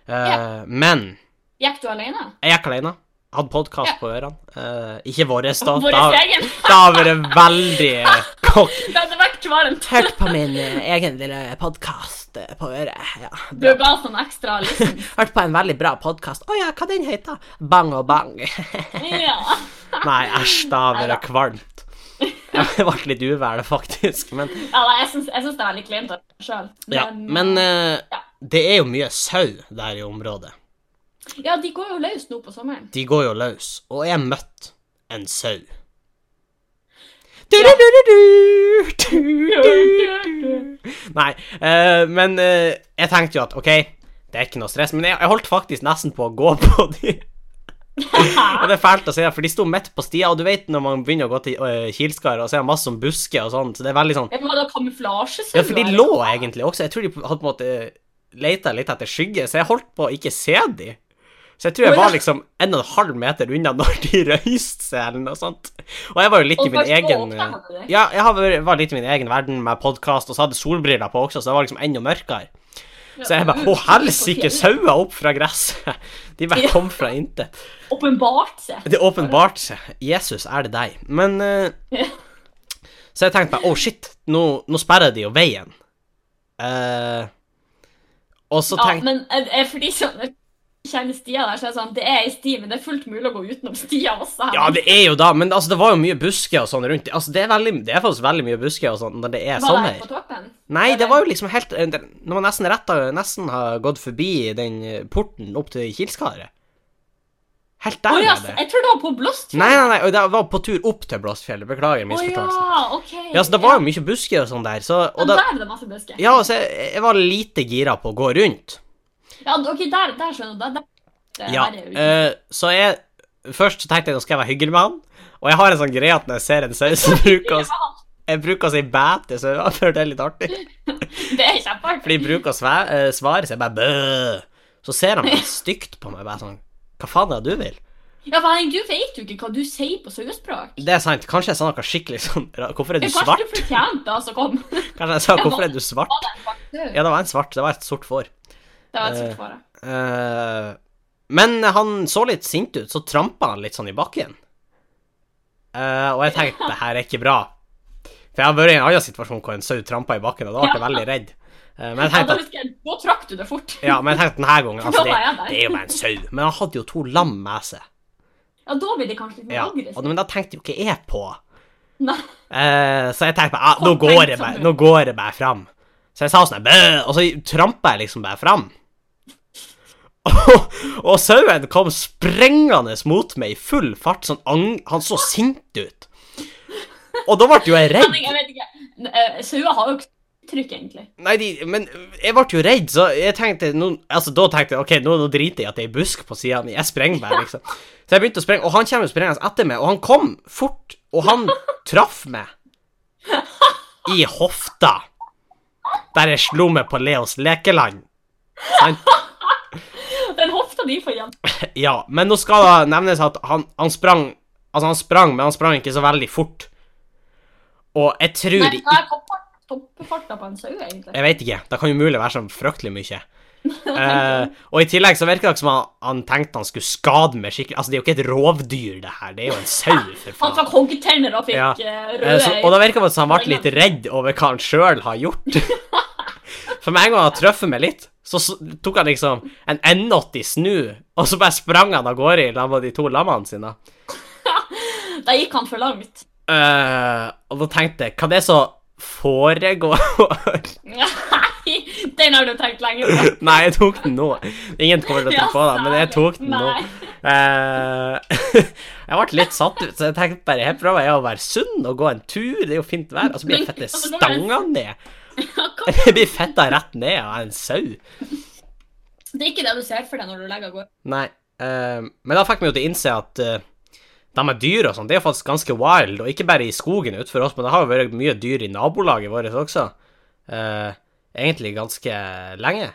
Eh, Men
Gikk du alene?
jeg gikk alene. Hadde podkast
Ja.
på ørene. Eh, ikke vår, da. <laughs>
Vår
da-
egen.
Det har vært veldig kokk.
Det hadde vært kvalmt.
Hørt på min eh, egen lille podkast på øret. Ja.
Du ga sånn ekstra, liksom.
Hørt på en veldig bra podkast. Å ja, hva den heter? Bang og
<laughs>
bang.
Ja.
Nei, æsj, det har vært kvalmt. Jeg ble litt uvel, faktisk. Men,
Ja, nei, jeg syns, jeg syns det er litt kleint av meg sjøl.
ja. men eh, det er jo mye sau der i området.
ja, de går jo løs nå på sommeren.
De går jo løs, og jeg møtte en sau. Du-du-du-du-du, du-du-du. Nei, eh, men eh, jeg tenkte jo at OK, det er ikke noe stress. Men jeg, jeg holdt faktisk nesten på å gå <laughs> på de. Og det er fælt å si det, for de sto midt på stia, og du vet når man begynner å gå til uh, Kilskar, og så er det masse som busker og sånn, så det er veldig sånn
Det var da kamuflasjesau.
Ja, for de lå egentlig også. Jeg tror de hadde på en måte leita litt etter skygge, så jeg holdt på å ikke se de. Så jeg tror jeg
Å, ja.
var liksom en og en halv meter unna <laughs> når de røyste seg, eller noe sånt. Og jeg var jo litt i min egen Ja, jeg har vært- var litt i min egen verden med podkast, og så hadde jeg solbriller på også, så det var liksom enda mørkere. Så jeg bare Å,
<laughs>
helsike, sauer opp fra gresset! De bare
Ja.
kom fra intet.
Åpenbart seg.
Det åpenbarte seg. Jesus, er det deg? Men eh,
Ja.
Så jeg tenkte meg, oh shit, nå, nå sperrer de jo veien. Eh, og så
Ja,
tenkte
men eh, eh, for de som kjenner stia der, så er det sånn Det er ei sti, men det er fullt mulig å gå utenom stia også. her.
Ja, det er jo da, men altså, det var jo mye busker og sånn rundt. Altså, det, er veldig, det er faktisk veldig mye busker og sånn når det er
Var det her
sommer.
på toppen?
Nei, det
Eller-
var jo liksom helt eh, det- Når man nesten retta Nesten har gått forbi den eh, porten opp til Kilskaret. Helt
Å
der
ja,
er det.
jeg tror det var på Blåst.
Nei, nei, nei, og det var på tur opp til Blåstfjellet. Beklager
Å ja,
misforståelsen.
OK.
Ja, så det var jo mye busker og sånn der, så
Men
og da,
der er det masse busker.
Ja, så jeg, jeg var lite gira på å gå rundt.
Ja, OK, der, der skjønner du. Der, der, der
Ja,
er jo-
eh, så jeg Først så tenkte jeg nå skal jeg være hyggelig med han, og jeg har en sånn greie at når jeg ser en sau, så bruker jeg,
Ja,
jeg bruker å si bæ til sauer, <laughs> for det er litt artig.
det er kjempeartig.
For de bruker å sve- eh, svare, så jeg bare bø. Så ser han meg stygt på meg, bare sånn Hva faen er det du vil?
Ja, for Henning, du vet jo ikke hva du sier på sauespråk.
Det er sant. Kanskje jeg sa noe skikkelig sånn ra- Hvorfor er du
Ja, Kanskje
svart?
du fortjente det som <laughs> kom.
Kanskje jeg sa 'Hvorfor er du svart?'
Det
Ja, det var en svart. Det var et sort får.
var et stort fare.
Eh, men han så litt sint ut, så trampa han litt sånn i bakken. Eh, og jeg tenkte det her er ikke bra. For jeg har vært i en annen situasjon hvor en sau trampa i bakken, og da ble jeg veldig redd. Eh, men jeg
Ja,
tenkte
da,
at
husker jeg, da trakk du det fort.
ja, men jeg tenkte denne gangen altså,
<laughs> Da
det,
var jeg der.
det er jo bare en sau. Men han hadde jo to lam med seg.
Ja, da blir det kanskje litt mer
Ja.
aggressivt.
Og, men da tenkte jo ikke jeg på.
Nei. <laughs>
Eh, så jeg tenkte bare, ah, nå, går jeg bare, nå går jeg bare fram. Så jeg sa sånn, bø, og så trampa jeg liksom bare fram. <laughs> Og, og sauen kom sprengende mot meg i full fart, sånn ang, han så sint ut. Og da ble jo jeg redd.
Henning, jeg vet ikke. N- eh, Sauer har jo ikke trykk, egentlig.
Nei, de, men jeg ble jo redd, så jeg tenkte nå, altså, Da tenkte jeg ok, nå, nå driter jeg i at det er en busk på sida mi. Jeg sprenger bare, liksom. Så jeg begynte å sprenge, og han kommer sprengende etter meg, og han kom fort, og han traff meg i hofta. Der jeg slo meg på Leos lekeland. Sant?
Den hofta di får igjen.
Ja, men nå skal det nevnes at han, han sprang Altså, han sprang, men han sprang ikke så veldig fort. Og jeg tror
Nei,
ikke
hva er toppfart- toppfarta på en sau, egentlig?
Jeg vet ikke. Det kan umulig være så fryktelig mye. Eh, og i tillegg så virker det som han, han tenkte han skulle skade meg skikkelig. Altså, det er jo ikke et rovdyr, det her. Det er jo en sau, for
Han
faen.
fikk hoggtenner og fikk
Ja.
eh,
Eh,
røde
så, og da virker det som han ble litt redd over hva han sjøl har gjort. For med en gang han traff meg litt, så s- tok han liksom en N80 snu, og så bare sprang han av gårde i lag med de to lammene sine.
Da gikk han for langt. <laughs>
Eh, og da tenkte jeg, hva det er som foregår?
Nei, den har du tenkt lenge
<laughs>
på.
Nei, jeg tok den nå. Ingen kommer til å tro på det, men jeg tok den nå.
Nei.
Eh, <laughs> jeg ble litt satt ut, så jeg tenkte bare her prøver jeg å være sunn og gå en tur. Det er jo fint vær. Og så blir jeg fette stanga ned. <laughs>
Hva-
Jeg blir fetta rett ned av en sau.
Det er ikke det du ser for deg når du legger av gårde.
Nei. eh, men da fikk vi jo til å innse at uh, de med dyr og sånn, det er jo faktisk ganske wild. Og ikke bare i skogen utenfor oss, men det har jo vært mye dyr i nabolaget vårt også. Eh, egentlig ganske lenge.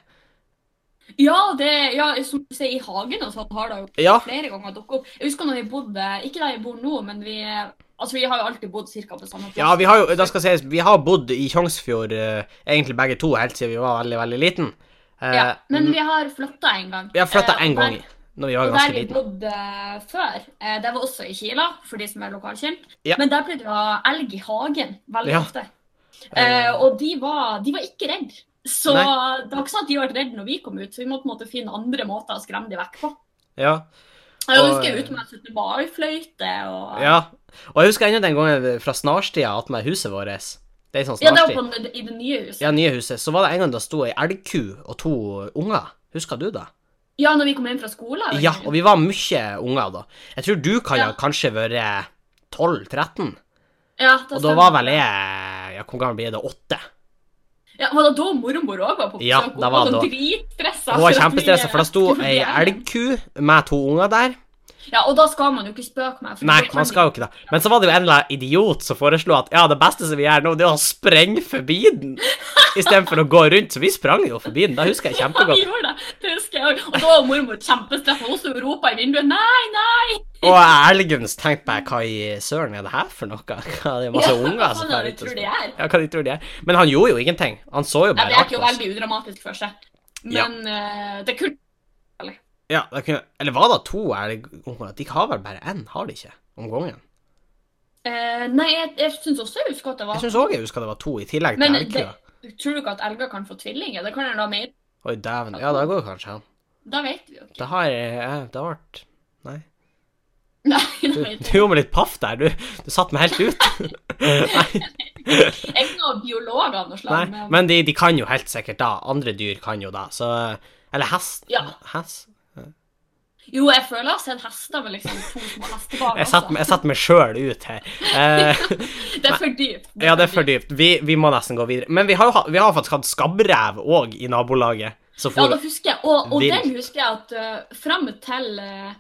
Ja, det, ja, som du sier, i hagen og sånn har det jo
Ja.
flere ganger dukket opp. Jeg husker når vi bodde, ikke der jeg bor nå, men vi, altså vi har jo alltid bodd cirka på samme plass.
Ja, vi har jo, da skal sies, vi har bodd i Tjongsfjord eh, egentlig begge to helt siden vi var veldig, veldig liten. Eh,
Ja, men vi har flyttet en gang.
Vi har flytta
Eh,
én
og der-
gang når vi var
Og der
ganske
vi
liten.
bodde før, eh, det var også i Kila, for de som er lokalkjent,
Ja.
men der ble det ha elg i hagen veldig
Ja.
ofte. Eh, og de var, de var ikke redd. Så
Nei.
det var ikke sånn at de var redd når vi kom ut, så vi måtte på en måte finne andre måter å skremme de vekk på.
Ja.
Jeg
Og- eh,
husker ute med 17. mai-fløyte og
ja. Og jeg husker ennå den gangen fra snarstida attmed huset vårt. Det er sånn
Ja, det var
snarsti.
på, den- i det nye huset. Ja.
Ja, nye huset. Så var det en gang det sto ei elgku og to unger. Husker du det?
når vi kom hjem fra skolen.
Ja, og vi var mye unger da. Jeg tror du kan
Ja.
ha kanskje vært 12-13.
ja,
Og da var vel jeg Ja, hvor gammel blir jeg da? Åtte?
ja, Var det da mormor òg var på
Ja,
besøk?
det var da.
dritstressa.
Hun
for
var
at vi-
kjempestressa, for det sto ei elgku med to unger der.
Ja, og da skal man jo ikke spøke med. for
Nei,
da kan
man
de-
skal jo ikke det. Men så var det jo en eller annen idiot som foreslo at ja, det beste som vi gjør nå, det er å sprenge forbi den, istedenfor å gå rundt. Så vi sprang jo forbi den, det husker jeg
Ja, vi
kjempegodt.
<laughs> gjorde det. det husker jeg også. Og da var mormor kjempestressa. Hun sto og ropa i vinduet 'nei, nei'.
Og Elgens tenkte bare hva i søren er det her for noe? <laughs> Hva, det er masse
Ja,
unger
hva
som drar
faen Sånn er det
ut
du
og
tror de
spør.
er?
Ja, hva de tror de er. Men han gjorde jo ingenting. Han så jo
Ja,
bare
det er jo
på oss.
veldig udramatisk for seg. Men eh, det kunne
Ja, det kunne, eller var det to elgunger? De har vel bare én, har de ikke? Om gangen.
eh, Nei, jeg, jeg syns også jeg husker at det var
Jeg syns òg jeg husker det var to, i tillegg
Men
til
det-
elgkua.
Tror du ikke at elger kan få tvillinger? Det kan jeg da mer.
Oi, dæven. Ja, det går kanskje an.
Da vet vi jo ikke.
Det har jeg Det har vært Nei.
<laughs> Nei, da
Du,
vet
du
vi.
gjorde meg litt paff der. Du, du satte meg helt ut.
<laughs>
nei,
Jeg er ikke noen biolog av noe slag.
nei,
men...
men de, de kan jo helt sikkert da. Andre dyr kan jo da. Så Eller hest.
Ja.
Hest?
Jo, jeg føler jeg har sett hester med liksom to små hestebarn.
Jeg setter meg- jeg setter meg sjøl ut her. Eh,
også. Det er for dypt.
ja, det er for dypt. Vi, vi må nesten gå videre. Men vi har, jo ha- vi har faktisk hatt skabbrev òg i nabolaget. Så
Ja,
for,
det husker jeg. Og, og
Vilt.
den husker jeg at uh, fram til eh,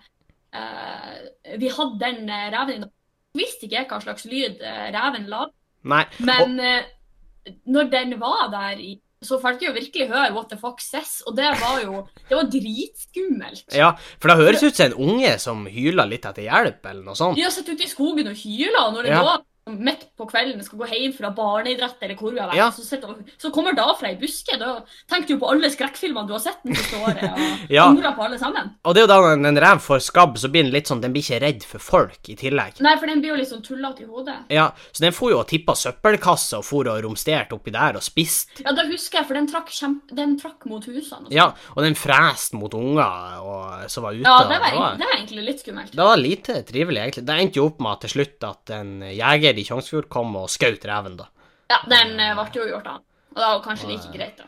eh, vi hadde den eh, reven i dag, visste ikke jeg hva slags lyd eh, reven la.
nei. Og,
Men eh, når den var der i så fikk jeg jo virkelig høre what the fuck says, og det var jo det var dritskummelt.
Ja, for det høres ut som en unge som hyler litt etter hjelp, eller noe sånt.
De har sittet ute i skogen og hyla og når det
Ja.
da midt på kvelden skal gå hjem fra barneidrett eller hvor vi har vært,
Ja.
så, sitter, og- så kommer da fra ei buske. Da tenker du jo på alle skrekkfilmene du har sett det siste året, og
<laughs> Ja.
angrer på alle sammen.
Og det er jo da når en rev får skabb, så blir den litt sånn, den blir ikke redd for folk i tillegg.
Nei, for den blir jo litt sånn tullete i hodet.
Ja, så den for jo og tippa søppelkassa og for og romsterte oppi der og spiste.
Ja, da husker jeg, for den trakk, kjempe, den trakk mot husene. og sånn.
Ja, og den freste mot unger og, som var ute.
ja
og
det, var, egentlig- det var egentlig litt skummelt.
Det var lite trivelig, egentlig. Det endte jo opp med at til slutt at en jeger i Tjongsfjord kom og skjøt reven, da.
Ja, den eh, ble jo gjort av. Og det var kanskje like greit, da.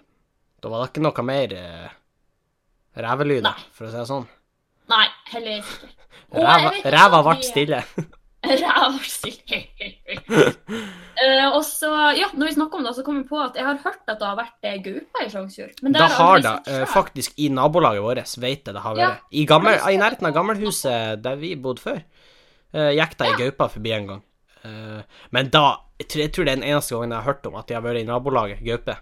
Da var det ikke noe mer eh, revelyder,
Nei.
for å si det sånn.
Nei, heller ikke. Og jeg
Ræva
vet ikke
ræva
at
ble
vi-
stille.
<laughs> Ræva ble stille. Eh, og så, ja, når vi snakker om det, så kom jeg på at jeg har hørt at det har vært eh, gauper i Sjongsfjord. Men det
Da
jeg
har
aldri
det
sett
eh,
selv.
faktisk i nabolaget vårt, vet jeg det har
Ja.
vært. I, gammel,
Har du sett
I nærheten av gammelhuset der vi bodde før, eh, gikk det ei gaupe forbi en gang. Eh, men da jeg tror, jeg tror det er den eneste gangen jeg har hørt om at de har vært i nabolaget, gaupe.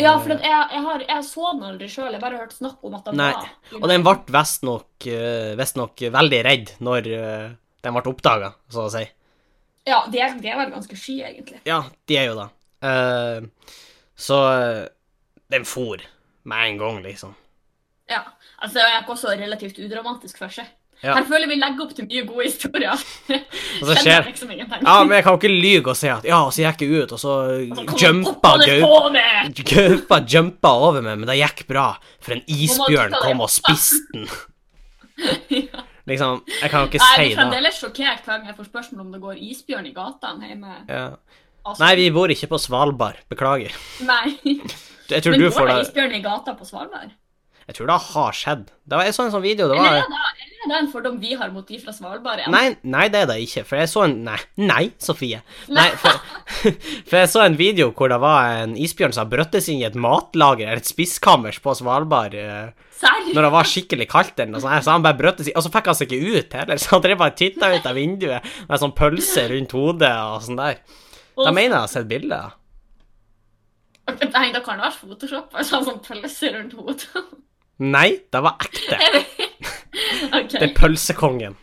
Ja, for at jeg, jeg, har, jeg så den aldri sjøl, jeg bare hørte snakk om at den
Nei,
var
Og den ble visstnok nok veldig redd når eh, den ble oppdaga, så å si.
Ja, de er, de er vel ganske sky, egentlig.
Ja, de er jo det. Eh, så eh, den for med en gang, liksom.
Ja. Altså, jeg er ikke også relativt udramatisk for seg.
Ja.
Her føler jeg vi legger opp til mye gode historier.
Og <laughs> så
Kjenner
skjer
liksom ingenting.
Ja, men jeg kan jo ikke lyge og si at ja, og så gikk jeg ut, og så
Og så Altså, kommer
jumpa
hoppende
gaupa
på meg!
Gaupa jumpa over meg, men det gikk bra, for en isbjørn
Og man
kom og
kikket det.
spiste den.
<laughs> Ja.
Liksom, jeg kan jo ikke
Nei, Jeg
si
blir
det.
fremdeles sjokkert hver gang jeg får spørsmål om det går isbjørn i gatene hjemme.
Ja.
Altså,
Nei, vi bor ikke på Svalbard, beklager.
Nei. <laughs>
Jeg tror,
Men
du
går
får
det
det,
isbjørn i gata på Svalbard?
jeg tror det har skjedd. Det var, jeg så en sånn video, det var
Eller er det, eller er det en fordom vi har mot de fra Svalbard? igjen?
Nei, nei, det er det ikke, for jeg så en Nei, nei Sofie. Nei, for, <laughs> for jeg så en video hvor det var en isbjørn som brøttes inn i et matlager, eller et spiskammers på Svalbard. eh,
Serr?
når det var skikkelig kaldt eller noe sånt, her, så han bare brøt seg, og så fikk han seg ikke ut heller, <laughs> så han drev bare titta ut av vinduet med sånn pølse rundt hodet og sånn der. Da mener jeg jeg har sett bilder.
Nei, da kan det være Photoshop. Altså, sånn pølse rundt hodet. <laughs>
Nei, det var ekte.
Jeg vet. OK.
Det er pølsekongen.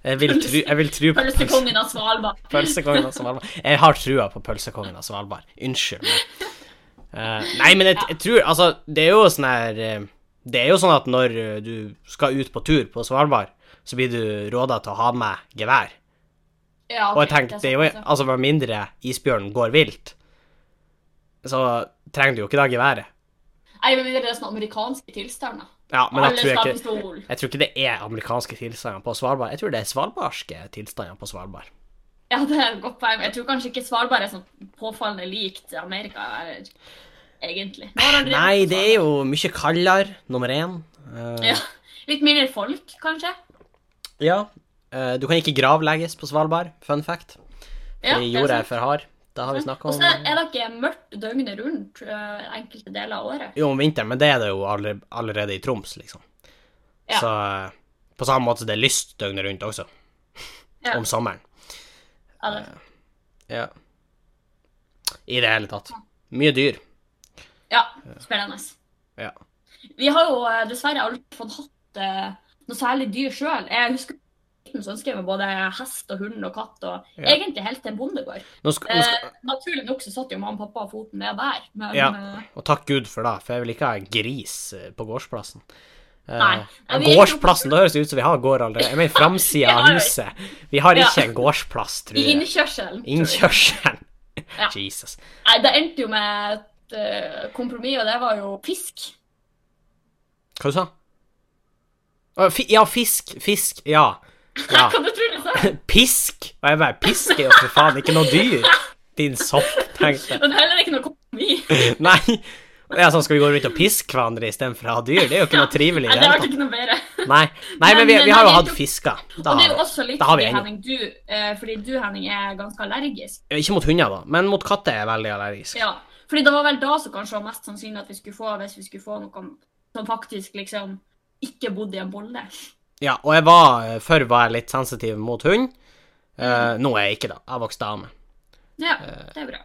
Jeg vil tru, jeg vil tru på pølse,
Pølsekongen av Svalbard.
pølsekongen av Svalbard. Jeg har trua på pølsekongen av Svalbard. Unnskyld meg. Eh, nei, men jeg, jeg tror Altså, det er jo sånn her eh, Det er jo sånn at når eh, du skal ut på tur på Svalbard, så blir du råda til å ha med gevær.
<laughs> Ja,
Og jeg
ok,
tenkte, det er jo,
sant,
altså med mindre isbjørnen går vilt, så trenger du jo ikke det geværet.
altså. Nei, men det er sånne amerikanske tilstander.
Ja, men jeg
Alle
tror,
skal ha
jeg ikke,
pistol.
jeg tror ikke det er amerikanske tilstander på Svalbard. Jeg tror det er svalbardske tilstander på Svalbard.
Ja, det er et godt poeng. Jeg tror kanskje ikke Svalbard er sånn påfallende likt Amerika, eller egentlig. Nå har jeg drevet
Nei,
på
det er jo mye kaldere, nummer én. Eh,
Svalbard. Ja. Litt mindre folk, kanskje?
ja. Eh, du kan ikke gravlegges på Svalbard, fun fact.
Ja,
Fordi
det er
jorda er
sant.
for hard. Det har vi snakka
Og
om.
så er det ikke mørkt døgnet rundt eh, enkelte deler av året.
Jo, om vinteren, men det er det jo allerede, allerede i Troms, liksom.
Ja.
Så eh, på samme måte det er lyst døgnet rundt også.
<laughs> Ja.
Om sommeren.
Ja, det-
Ja. I det hele tatt. Mye dyr.
Ja, spennende.
Ja.
Vi har jo eh, dessverre aldri fått hatt eh, noe særlig dyr sjøl. Jeg husker liten så ønsket jeg meg både hest og hund og katt, og
Ja.
egentlig helt til en bondegård.
Nå skal, nå
Eh,
skal,
naturlig nok så satt jo mamma og pappa foten ned der, men
Ja.
eh,
og takk Gud for det, for jeg vil ikke ha en gris eh, på gårdsplassen. Eh,
Nei. Nei, vi er ikke
gårdsplassen, det høres ut som vi har gård allerede. Jeg
<laughs>
mener framsida av
Vi har-
huset. Vi har
Ja.
ikke en gårdsplass, tror
i
jeg.
innkjørselen. tror jeg.
Innkjørselen.
Ja.
Jesus.
Nei, det endte jo med et eh, kompromiss, og det var jo fisk.
Hva du sa du? Fi, ja, fisk. Fisk. Ja.
<laughs>
ja.
Hva du tror du
<laughs>
jeg sa?
Pisk! Og jeg bare Pisk er jo for faen ikke noe dyr. Din sopp, tenkte jeg.
Og det er heller ikke noe kompromiss.
Nei. Det er sånn, Skal vi gå rundt og piske hverandre istedenfor å ha dyr? Det er jo ikke noe trivelig. i
Nei,
det
det
hele
ble ikke noe bedre.
tatt. Nei, Nei men vi,
Men-
vi har jo
men-
hatt fisker. Da
Og det er
har
jo
vi.
også litt
Da har vi
fordi,
ennå.
Henning, du, eh, fordi du, Henning, er ganske allergisk.
Ikke mot hunder, da, men mot katter er jeg veldig allergisk.
Ja, fordi det var vel da som kanskje var mest sannsynlig at vi skulle få, hvis vi skulle få noe som faktisk liksom ikke bodde i en bolle.
Ja, og jeg var, Før var jeg litt Eh,
Mm.
sensitiv mot hund. Eh, nå er jeg ikke det. Jeg vokste av meg.
Ja, det er bra.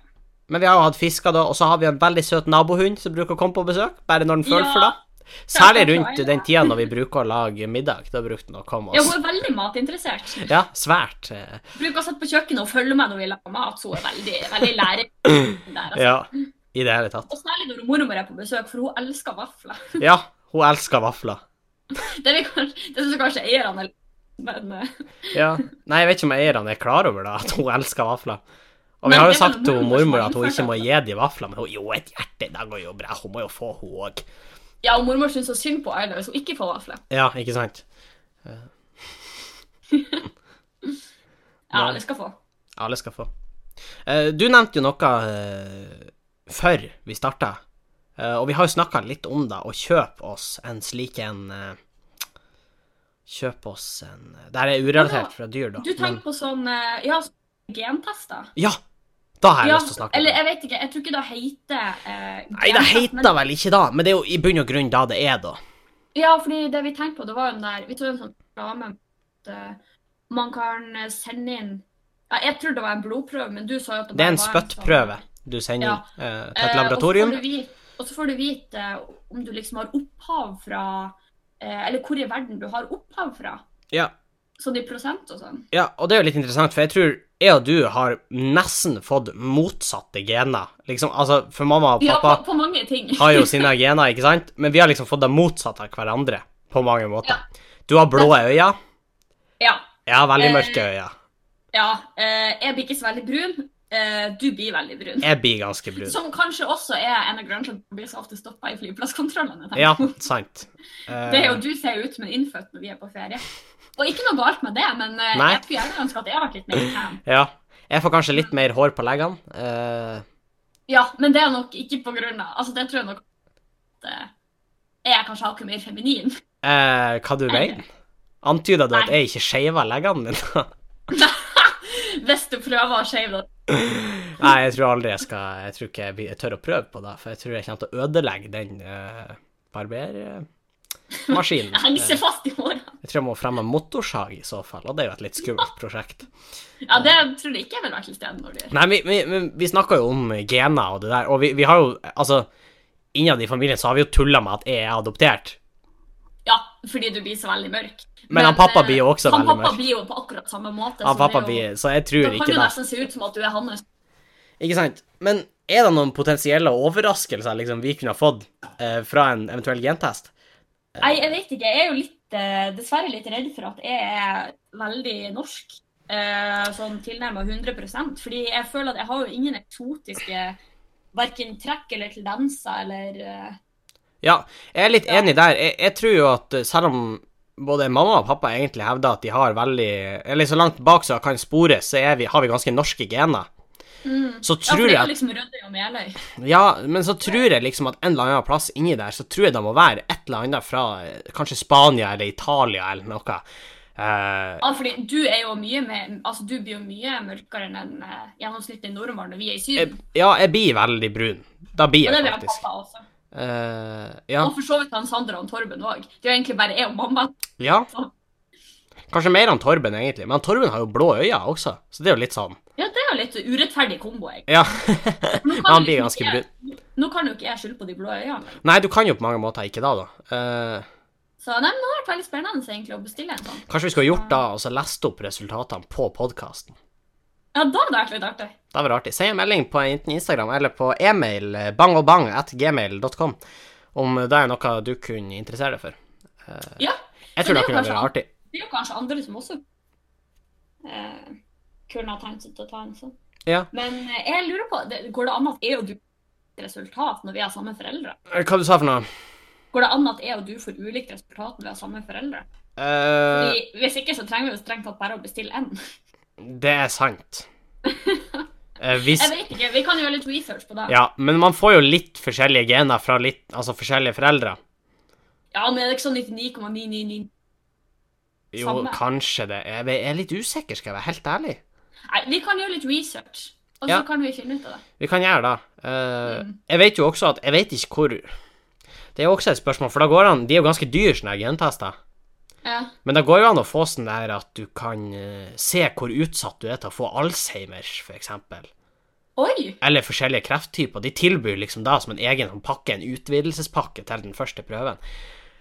Men vi har jo hatt fisker, da, og så har vi en veldig søt nabohund som bruker å komme på besøk, bare når den føler for
Ja.
det. Særlig rundt den tida når vi bruker å lage middag. Da brukte den å komme
Ja, hun
oss.
er veldig matinteressert.
Ja, svært. eh,
Bruker å sitte på kjøkkenet og følge med når vi lager mat, så hun er veldig, veldig lærer. Der,
<clears throat>
altså.
Ja, i det hele tatt.
Og særlig når mormor er på besøk, for hun elsker vafler. <laughs>
Ja, hun elsker vafler.
Det, vil kanskje, det synes kanskje eierne er litt, men eh,
Ja. Nei, jeg vet ikke om eierne er klar over det, at hun elsker vafler. Og vi
Men
har jo
det er vel
sagt til
mormor som
mormor
har
at hun
innført
ikke må
det.
gi de vafler, men hun, jo, et hjerte, det går jo bra. Hun må jo få, hun òg.
ja, og mormor synes så synd på Aila hvis hun ikke får vafler.
Ja, ikke sant?
Ja,
Nei.
det skal få.
Alle skal få. Eh, Du nevnte jo noe eh, før vi starta, eh, og vi har jo snakka litt om det, å kjøpe oss en slik en eh, Kjøpe oss en eh, Det her er urelatert fra dyr, da.
Du tenker på sånn, eh, ja, sånn gentester.
Ja! Da har jeg
Ja,
lyst til å snakke om
eller
det.
jeg vet ikke, jeg tror ikke det heter eh,
Nei, det
gentest, men-
heter vel ikke da, men det er jo i bunn og grunn da det er, da.
Ja, fordi det vi tenkte på, det var jo den der Vi så en sånn reklame at eh, man kan eh, sende inn ja, Jeg tror det var en blodprøve, men du sa jo at det
Det er
bare
en
var
spøttprøve
sånn-
du sender
Ja.
eh, til et
Eh,
laboratorium.
Og så får du vite, og så får du vite om du liksom har opphav fra eh, Eller hvor i verden du har opphav fra.
Ja.
Sånn i prosent og sånn.
Ja, og det er jo litt interessant, for jeg tror jeg og du har nesten fått motsatte gener. Liksom, altså, for mamma og
Ja,
pappa
på, på mange ting.
har jo sine gener, ikke sant? Men vi har liksom fått det motsatte av hverandre på mange måter. Du har blå øyne.
<laughs> Ja.
Jeg har veldig
Eh.
mørke øyne.
ja eh, jeg blir ikke så veldig brun. Eh, du blir veldig brun.
Jeg blir ganske brun.
Som kanskje også er en av grunnene til at du blir så ofte stoppa i flyplasskontrollene. tenker
Ja,
jeg.
sant. Eh,
<laughs> Det er jo du ser jo ut som en innfødt når vi er på ferie. Og ikke noe galt med det, men eh,
Nei.
jeg skulle gjerne ønske at jeg var litt mer tan.
Eh, Ja. Jeg får kanskje litt mer hår på leggene. eh,
Ja, men det er nok ikke på grunn av Altså, det tror jeg nok at eh, jeg kanskje har ikke mer feminin. <laughs>
eh, hva du mener? Antyder du at
Nei.
jeg ikke skeiver leggene mine? <laughs>
Hvis du prøver å shave det.
Nei, jeg tror aldri jeg skal Jeg tror ikke jeg, blir- jeg tør å prøve på det, for jeg tror jeg kommer til å ødelegge den uh, barbermaskinen.
<laughs>
Eh,
Jeg henger seg fast i håret.
jeg tror jeg må fremme motorsag i så fall, og det er jo et litt skummelt prosjekt.
Ja, det tror jeg ikke jeg ville vært til stede når du gjør.
Nei, vi, vi, men vi snakker jo om gener og det der, og vi, vi har jo Altså, innad i familien så har vi jo tulla med at jeg er adoptert,
Ja, fordi du blir så veldig mørk. eh,
Men han pappa blir jo også
han
veldig
pappa
mørk.
blir jo på akkurat samme måte.
av
så
pappa
Altså, det er jo-
blir Så jeg
Da
tror
kan
ikke
det
det.
nesten se ut som at du er hans.
Ikke sant? Men er det noen potensielle overraskelser liksom, vi kunne ha fått eh, fra en eventuell gentest?
Nei, jeg vet ikke. Jeg er jo litt, eh, dessverre litt redd for at jeg er veldig norsk. eh, sånn tilnærmet 100 Fordi jeg føler at jeg har jo ingen eksotiske hverken trekk eller tendenser eller eh,
Ja, jeg er litt
Ja.
enig der. Jeg, jeg tror jo at eh, selv om både mamma og pappa egentlig hevder at de har veldig Eller så langt bak som kan spores, så er vi, har vi ganske norske gener. Så
Ja, for
tror
det
jeg
er jo
at,
liksom Rødøy og Meløy.
Ja, men så tror jeg liksom at en eller annen plass inni der, så tror jeg det må være et eller annet fra eh, kanskje Spania eller Italia eller noe. Eh,
Ja, fordi du er jo mye mer Altså, du blir jo mye mørkere enn en eh, gjennomsnittlig nordmann når vi er i
jeg,
Syden.
ja, jeg blir veldig brun. Da blir
Og det
jeg
blir han
faktisk.
pappa også.
Eh, ja.
Og for så vidt han Sander og han Torben òg. Det er jo egentlig bare jeg og mamma.
ja. Kanskje mer enn Torben, egentlig. Men Torben har jo blå øyne også, så det er jo litt sånn
Ja, det er jo litt urettferdig kombo, jeg.
Ja. <laughs>
Nå kan
Han
jo
blir
ikke
ganske
jeg-
brun.
Nå kan jo ikke jeg skylde på de blå øynene.
Nei, du kan jo på mange måter ikke da, da. Eh,
Så nei, men det har vært veldig spennende egentlig å bestille en sånn.
kanskje vi skulle ha gjort da, og så lest opp resultatene på podkasten.
Ja, da hadde det vært litt artig.
Det var artig. Send en melding på enten Instagram eller på e-mail eh, bangogbang.gmail.com om det er noe du kunne interessere deg for.
Ja.
Jeg tror det
Men det er jo
kunne
kanskje
vært artig.
Det er jo kanskje andre som også eh, kunne ha tenkt seg til å ta en sånn.
Ja.
Men eh, jeg lurer på, det, går det an at jeg og du får ulikt resultat når vi har samme foreldre?
Eh, Hva du sa for noe?
Går det an at jeg og du får ulikt resultat når vi har samme foreldre?
Eh,
Fordi, hvis ikke så trenger vi jo strengt tatt bare å bestille én.
det er sant.
<laughs>
Eh, hvis
Jeg vet ikke, vi kan gjøre litt research på det.
Ja, men man får jo litt forskjellige gener fra litt Altså forskjellige foreldre.
Ja, men er det ikke sånn 99,999?
Jo,
Samme.
kanskje det. Jeg jeg er litt usikker, skal jeg være helt ærlig.
Nei, vi kan gjøre litt research, og så
Ja.
kan vi finne ut av det.
Vi kan gjøre det. Eh,
Mm.
Jeg vet jo også at Jeg vet ikke hvor Det er jo også et spørsmål, for da går an De er jo ganske dyre, sånne her gentester.
Ja.
Men det går jo an å få sånn der at du kan eh, se hvor utsatt du er til å få Alzheimers, for eksempel.
Oi!
eller forskjellige krefttyper. De tilbyr liksom da som en egen sånn pakke, en utvidelsespakke til den første prøven.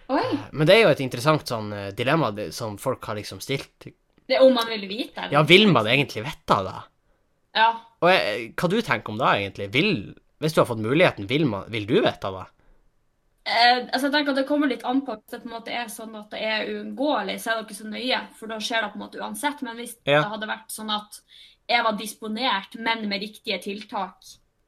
oi.
Men det er jo et interessant sånn eh, dilemma det- som folk har liksom stilt.
Det er om man vil vite det.
Ja, vil man egentlig vite det?
Ja.
Og jeg, hva du tenker om det egentlig? Vil, hvis du har fått muligheten, vil, man, vil du vite det?
Eh, altså jeg tenker at Det kommer litt an på hvis det på en måte er sånn at det er uunngåelig, så er det ikke så nøye, for da skjer det på en måte uansett. Men hvis
Ja.
det hadde vært sånn at jeg var disponert, men med riktige tiltak,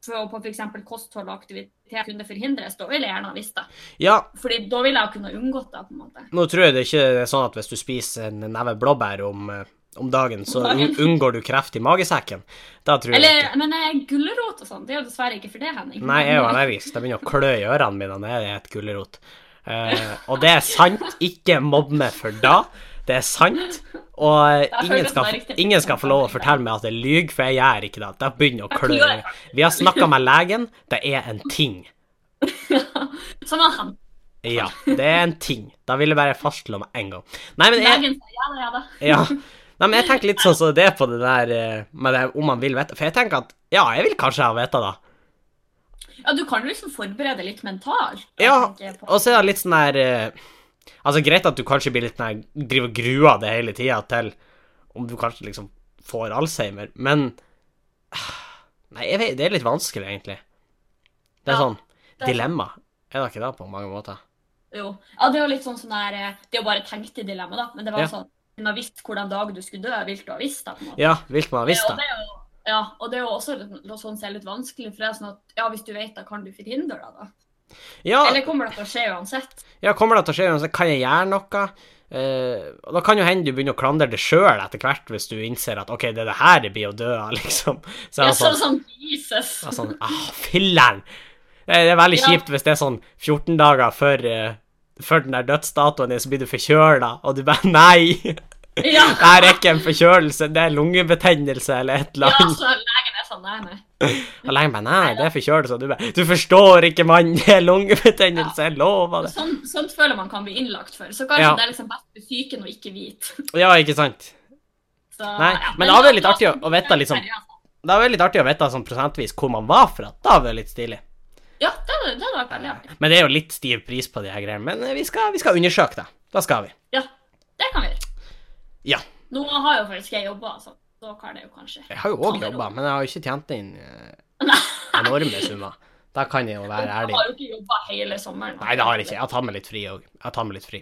for å på f.eks. kosthold og aktivitet kunne forhindres, da ville jeg gjerne ha visst det.
Ja,
Fordi da ville jeg kunne ha unngått det, på en måte.
nå tror jeg det ikke er sånn at hvis du spiser en neve blåbær om, eh, om dagen, så
Om dagen.
un- unngår du kreft i magesekken. Da tror jeg
Eller,
ikke.
men eh, gulrot og sånn, det er jo dessverre ikke for det, Henning.
Nei, jeg er jo allergisk. Det begynner å klø i ørene mine når jeg spiser gulrot. Eh, og det er sant. Ikke mobb meg for da. Det er sant. Og eh,
Da føles
ingen
det
skal,
riktig.
ingen skal få lov å fortelle meg at jeg lyver, for jeg gjør ikke det. Det begynner å
Jeg
klø. i
klør.
ørene. Vi har snakka med legen. Det er en ting.
<laughs> Som var Sånn han.
Ja, det er en ting. Da vil jeg bare fastslå med en gang. Nei, men jeg,
Legen sa ja da, ja da.
ja. Nei, men jeg tenker litt sånn som det er på det der eh, med det om man vil vite. For jeg tenker at ja, jeg vil kanskje ha vite det.
Ja, du kan jo liksom forberede litt mentalt. og
Ja,
tenke på-
og så er det litt sånn der eh, Altså, greit at du kanskje blir litt sånn der Driver og gruer deg hele tida til om du kanskje liksom får Alzheimer, men <sighs> ah, Nei, jeg vet, det er litt vanskelig, egentlig. Det er
Ja, det er
sånn dilemma. Er det ikke det på mange måter?
Jo. Ja, det er jo litt sånn sånn der eh, Det er jo bare tenkte dilemma, da. Men det var
Ja.
jo sånn Du har visst hvordan dag du skulle dø, vil du ha visst det? på en måte.
Ja, vil man ha visst
Og
det?
det er jo- Ja, og det er jo også litt, sånn som er litt vanskelig, for det er sånn at ja, hvis du vet det, kan du forhindre det, da?
Ja,
Eller kommer det til å skje uansett?
Ja, kommer det til å skje noe, så kan jeg gjøre noe. Eh, og da kan jo hende du begynner å klandre det sjøl etter hvert, hvis du innser at OK, det er det her det blir å dø av, <laughs> liksom. Så er
Ja,
det
så
sånn,
sånn Jesus.
det er sånn ah, filler'n! Eh, Det er veldig
Ja.
kjipt hvis det er sånn 14 dager før, eh, før den der dødsdatoen din, så blir du forkjøla, og du bare <laughs> Nei! Det
Ja.
her er ikke en forkjølelse, det er lungebetennelse eller et
ja,
eller annet.
så legen er sånn Nei, nei.
Og legen bare Nei, det er forkjølelse. Og du bare Du forstår ikke, mann! Det er lungebetennelse, jeg lover det.
Sånn, sånt føler man kan bli innlagt for. Så kanskje
Ja.
det er liksom best for psyken å ikke vite. <laughs>
Ja, ikke sant?
Så,
Nei,
ja.
men da er det litt
da-
artig å- å vite liksom- Det er veldig artig å vite sånn prosentvis hvor man var fra. Da var det litt stilig.
Ja, det hadde det hadde vært veldig artig.
Men det er jo litt stiv pris på de her greiene. Men eh, vi skal, vi skal undersøke det. Da skal vi.
Ja, det kan vi gjøre.
Ja.
Nå har jo faktisk jeg jobba, så da kan jeg jo kanskje
Jeg har jo òg jobba, men jeg har jo ikke tjent inn eh,
<laughs>
enorme summer. Da kan jeg jo være
Jeg
ærlig.
har jo ikke jobba hele sommeren.
Nei, det har jeg ikke. Jeg tar meg litt fri òg. Jeg tar meg litt fri.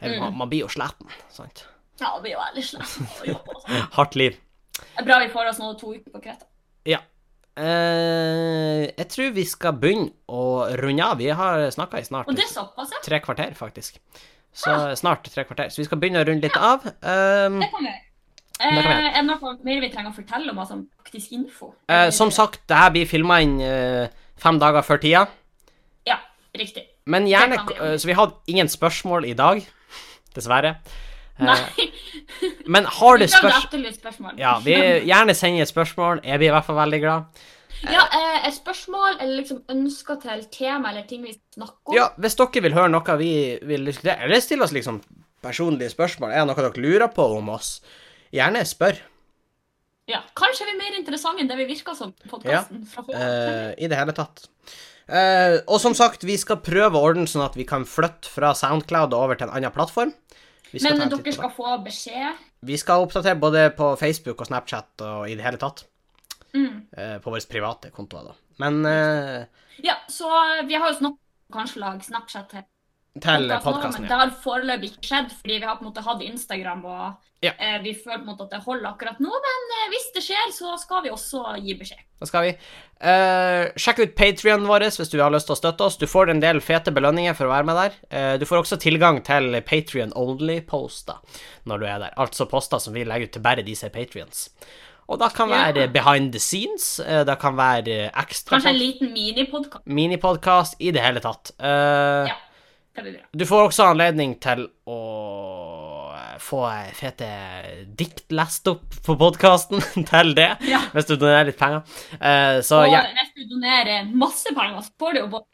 Eller,
Mm.
man, man blir jo sliten, sant.
Ja, det blir jo ærlig slett å jobbe. også.
Hardt liv.
Det er bra vi får oss nå to uker på Kreta.
Ja. Eh, jeg tror vi skal begynne å runde av. Vi har snakka i snart
Og det er såpass, ja.
tre kvarter, faktisk. Så snart tre kvarter. Så vi skal begynne å runde litt av. Um,
Det kan vi gjøre.
Det
Eh,
kan vi
er det noe mer vi trenger å fortelle om, altså faktisk info?
Eh, som sagt, det her blir filma inn eh, fem dager før tida.
Ja, riktig.
Men gjerne,
Det kan vi
eh, Så vi hadde ingen spørsmål i dag, dessverre. Eh,
Nei,
Men har du
vi prøvde å
spørsmål
etterlyse spørsmål.
Ja, vi gjerne send et spørsmål. Jeg blir i hvert fall veldig glad.
<laughs> Ja, eh, et spørsmål eller liksom ønsker til tema eller ting vi snakker om.
Ja, Hvis dere vil høre noe vi vil diskutere, eller stille oss liksom personlige spørsmål, er det noe dere lurer på om oss, gjerne spør.
Ja, Kanskje er vi mer interessante enn det vi virker som på podkasten.
eh, I det hele tatt. Eh, og som sagt, vi skal prøve å ordne sånn at vi kan flytte fra Soundcloud og over til en annen plattform. Vi skal
Men
ta en titt på
dere
det.
skal få beskjed.
Vi skal oppdatere både på Facebook og Snapchat og i det hele tatt.
Mm.
eh, På våre private kontoer, da. Men eh,
Ja, så eh, vi har jo snakket om kanskje å lage Snapchat til
til
podcasten også,
podkasten, ja.
men Det har foreløpig ikke skjedd, fordi vi har på en måte hatt Instagram, og
Ja.
eh, vi føler på en måte at det holder akkurat nå. Men eh, hvis det skjer, så skal vi også gi beskjed.
Da skal vi. Eh, sjekk ut Patrionen vår hvis du har lyst til å støtte oss. Du får en del fete belønninger for å være med der. Eh, du får også tilgang til Patrion only-poster når du er der. Altså poster som vi legger ut til bare de som er patrions. Og da kan
Ja.
være behind the scenes, eh, det kan være eh, ekstra
Kanskje en liten minipodkast.
minipodkast, i det hele tatt. Eh,
Ja. Det blir bra.
Du får også anledning til å få fete dikt lest opp på podkasten <laughs> til det,
Ja.
hvis du donerer litt penger. Eh, så
Og
ja,
hvis du donerer masse penger, så får du jo både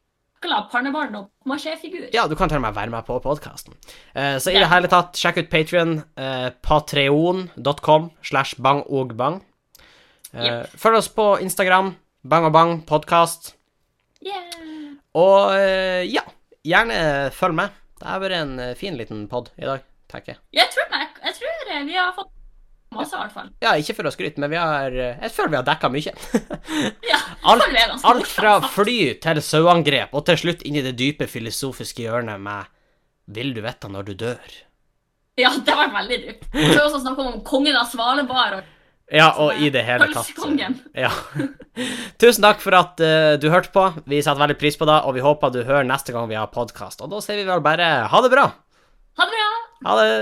sjokolade, pannebarn og maché-figur.
ja, du kan til og med være med på podkasten. Eh, så i
Ja.
det hele tatt, sjekk ut Patrion. Eh, Patreon.com slash bangogbang. Eh, Følg oss på Instagram. Bang og bang podkast.
Yeah.
Og eh, ja, gjerne følg med. Det har vært en eh, fin liten pod i dag, tenker jeg.
Jeg tror, Mac, jeg tror eh, vi har fått masse, i hvert fall.
Ja, ikke for å skryte, men vi har eh, Jeg føler vi har dekka mye.
Ja,
Alt,
føler jeg er ganske
alt fra
morsomt.
fly til saueangrep, og til slutt inn i det dype filosofiske hjørnet med Vil du vite når du dør?
Ja, det var veldig dypt. Vi har også snakket om kongen av Svalbard og
Ja, og i det hele tatt.
Pølsekongen.
Ja. <laughs> Tusen takk for at eh, du hørte på. Vi setter veldig pris på det, og vi håper du hører neste gang vi har podkast. Og da sier vi vel bare ha det bra.
Ha det bra!
Ha det.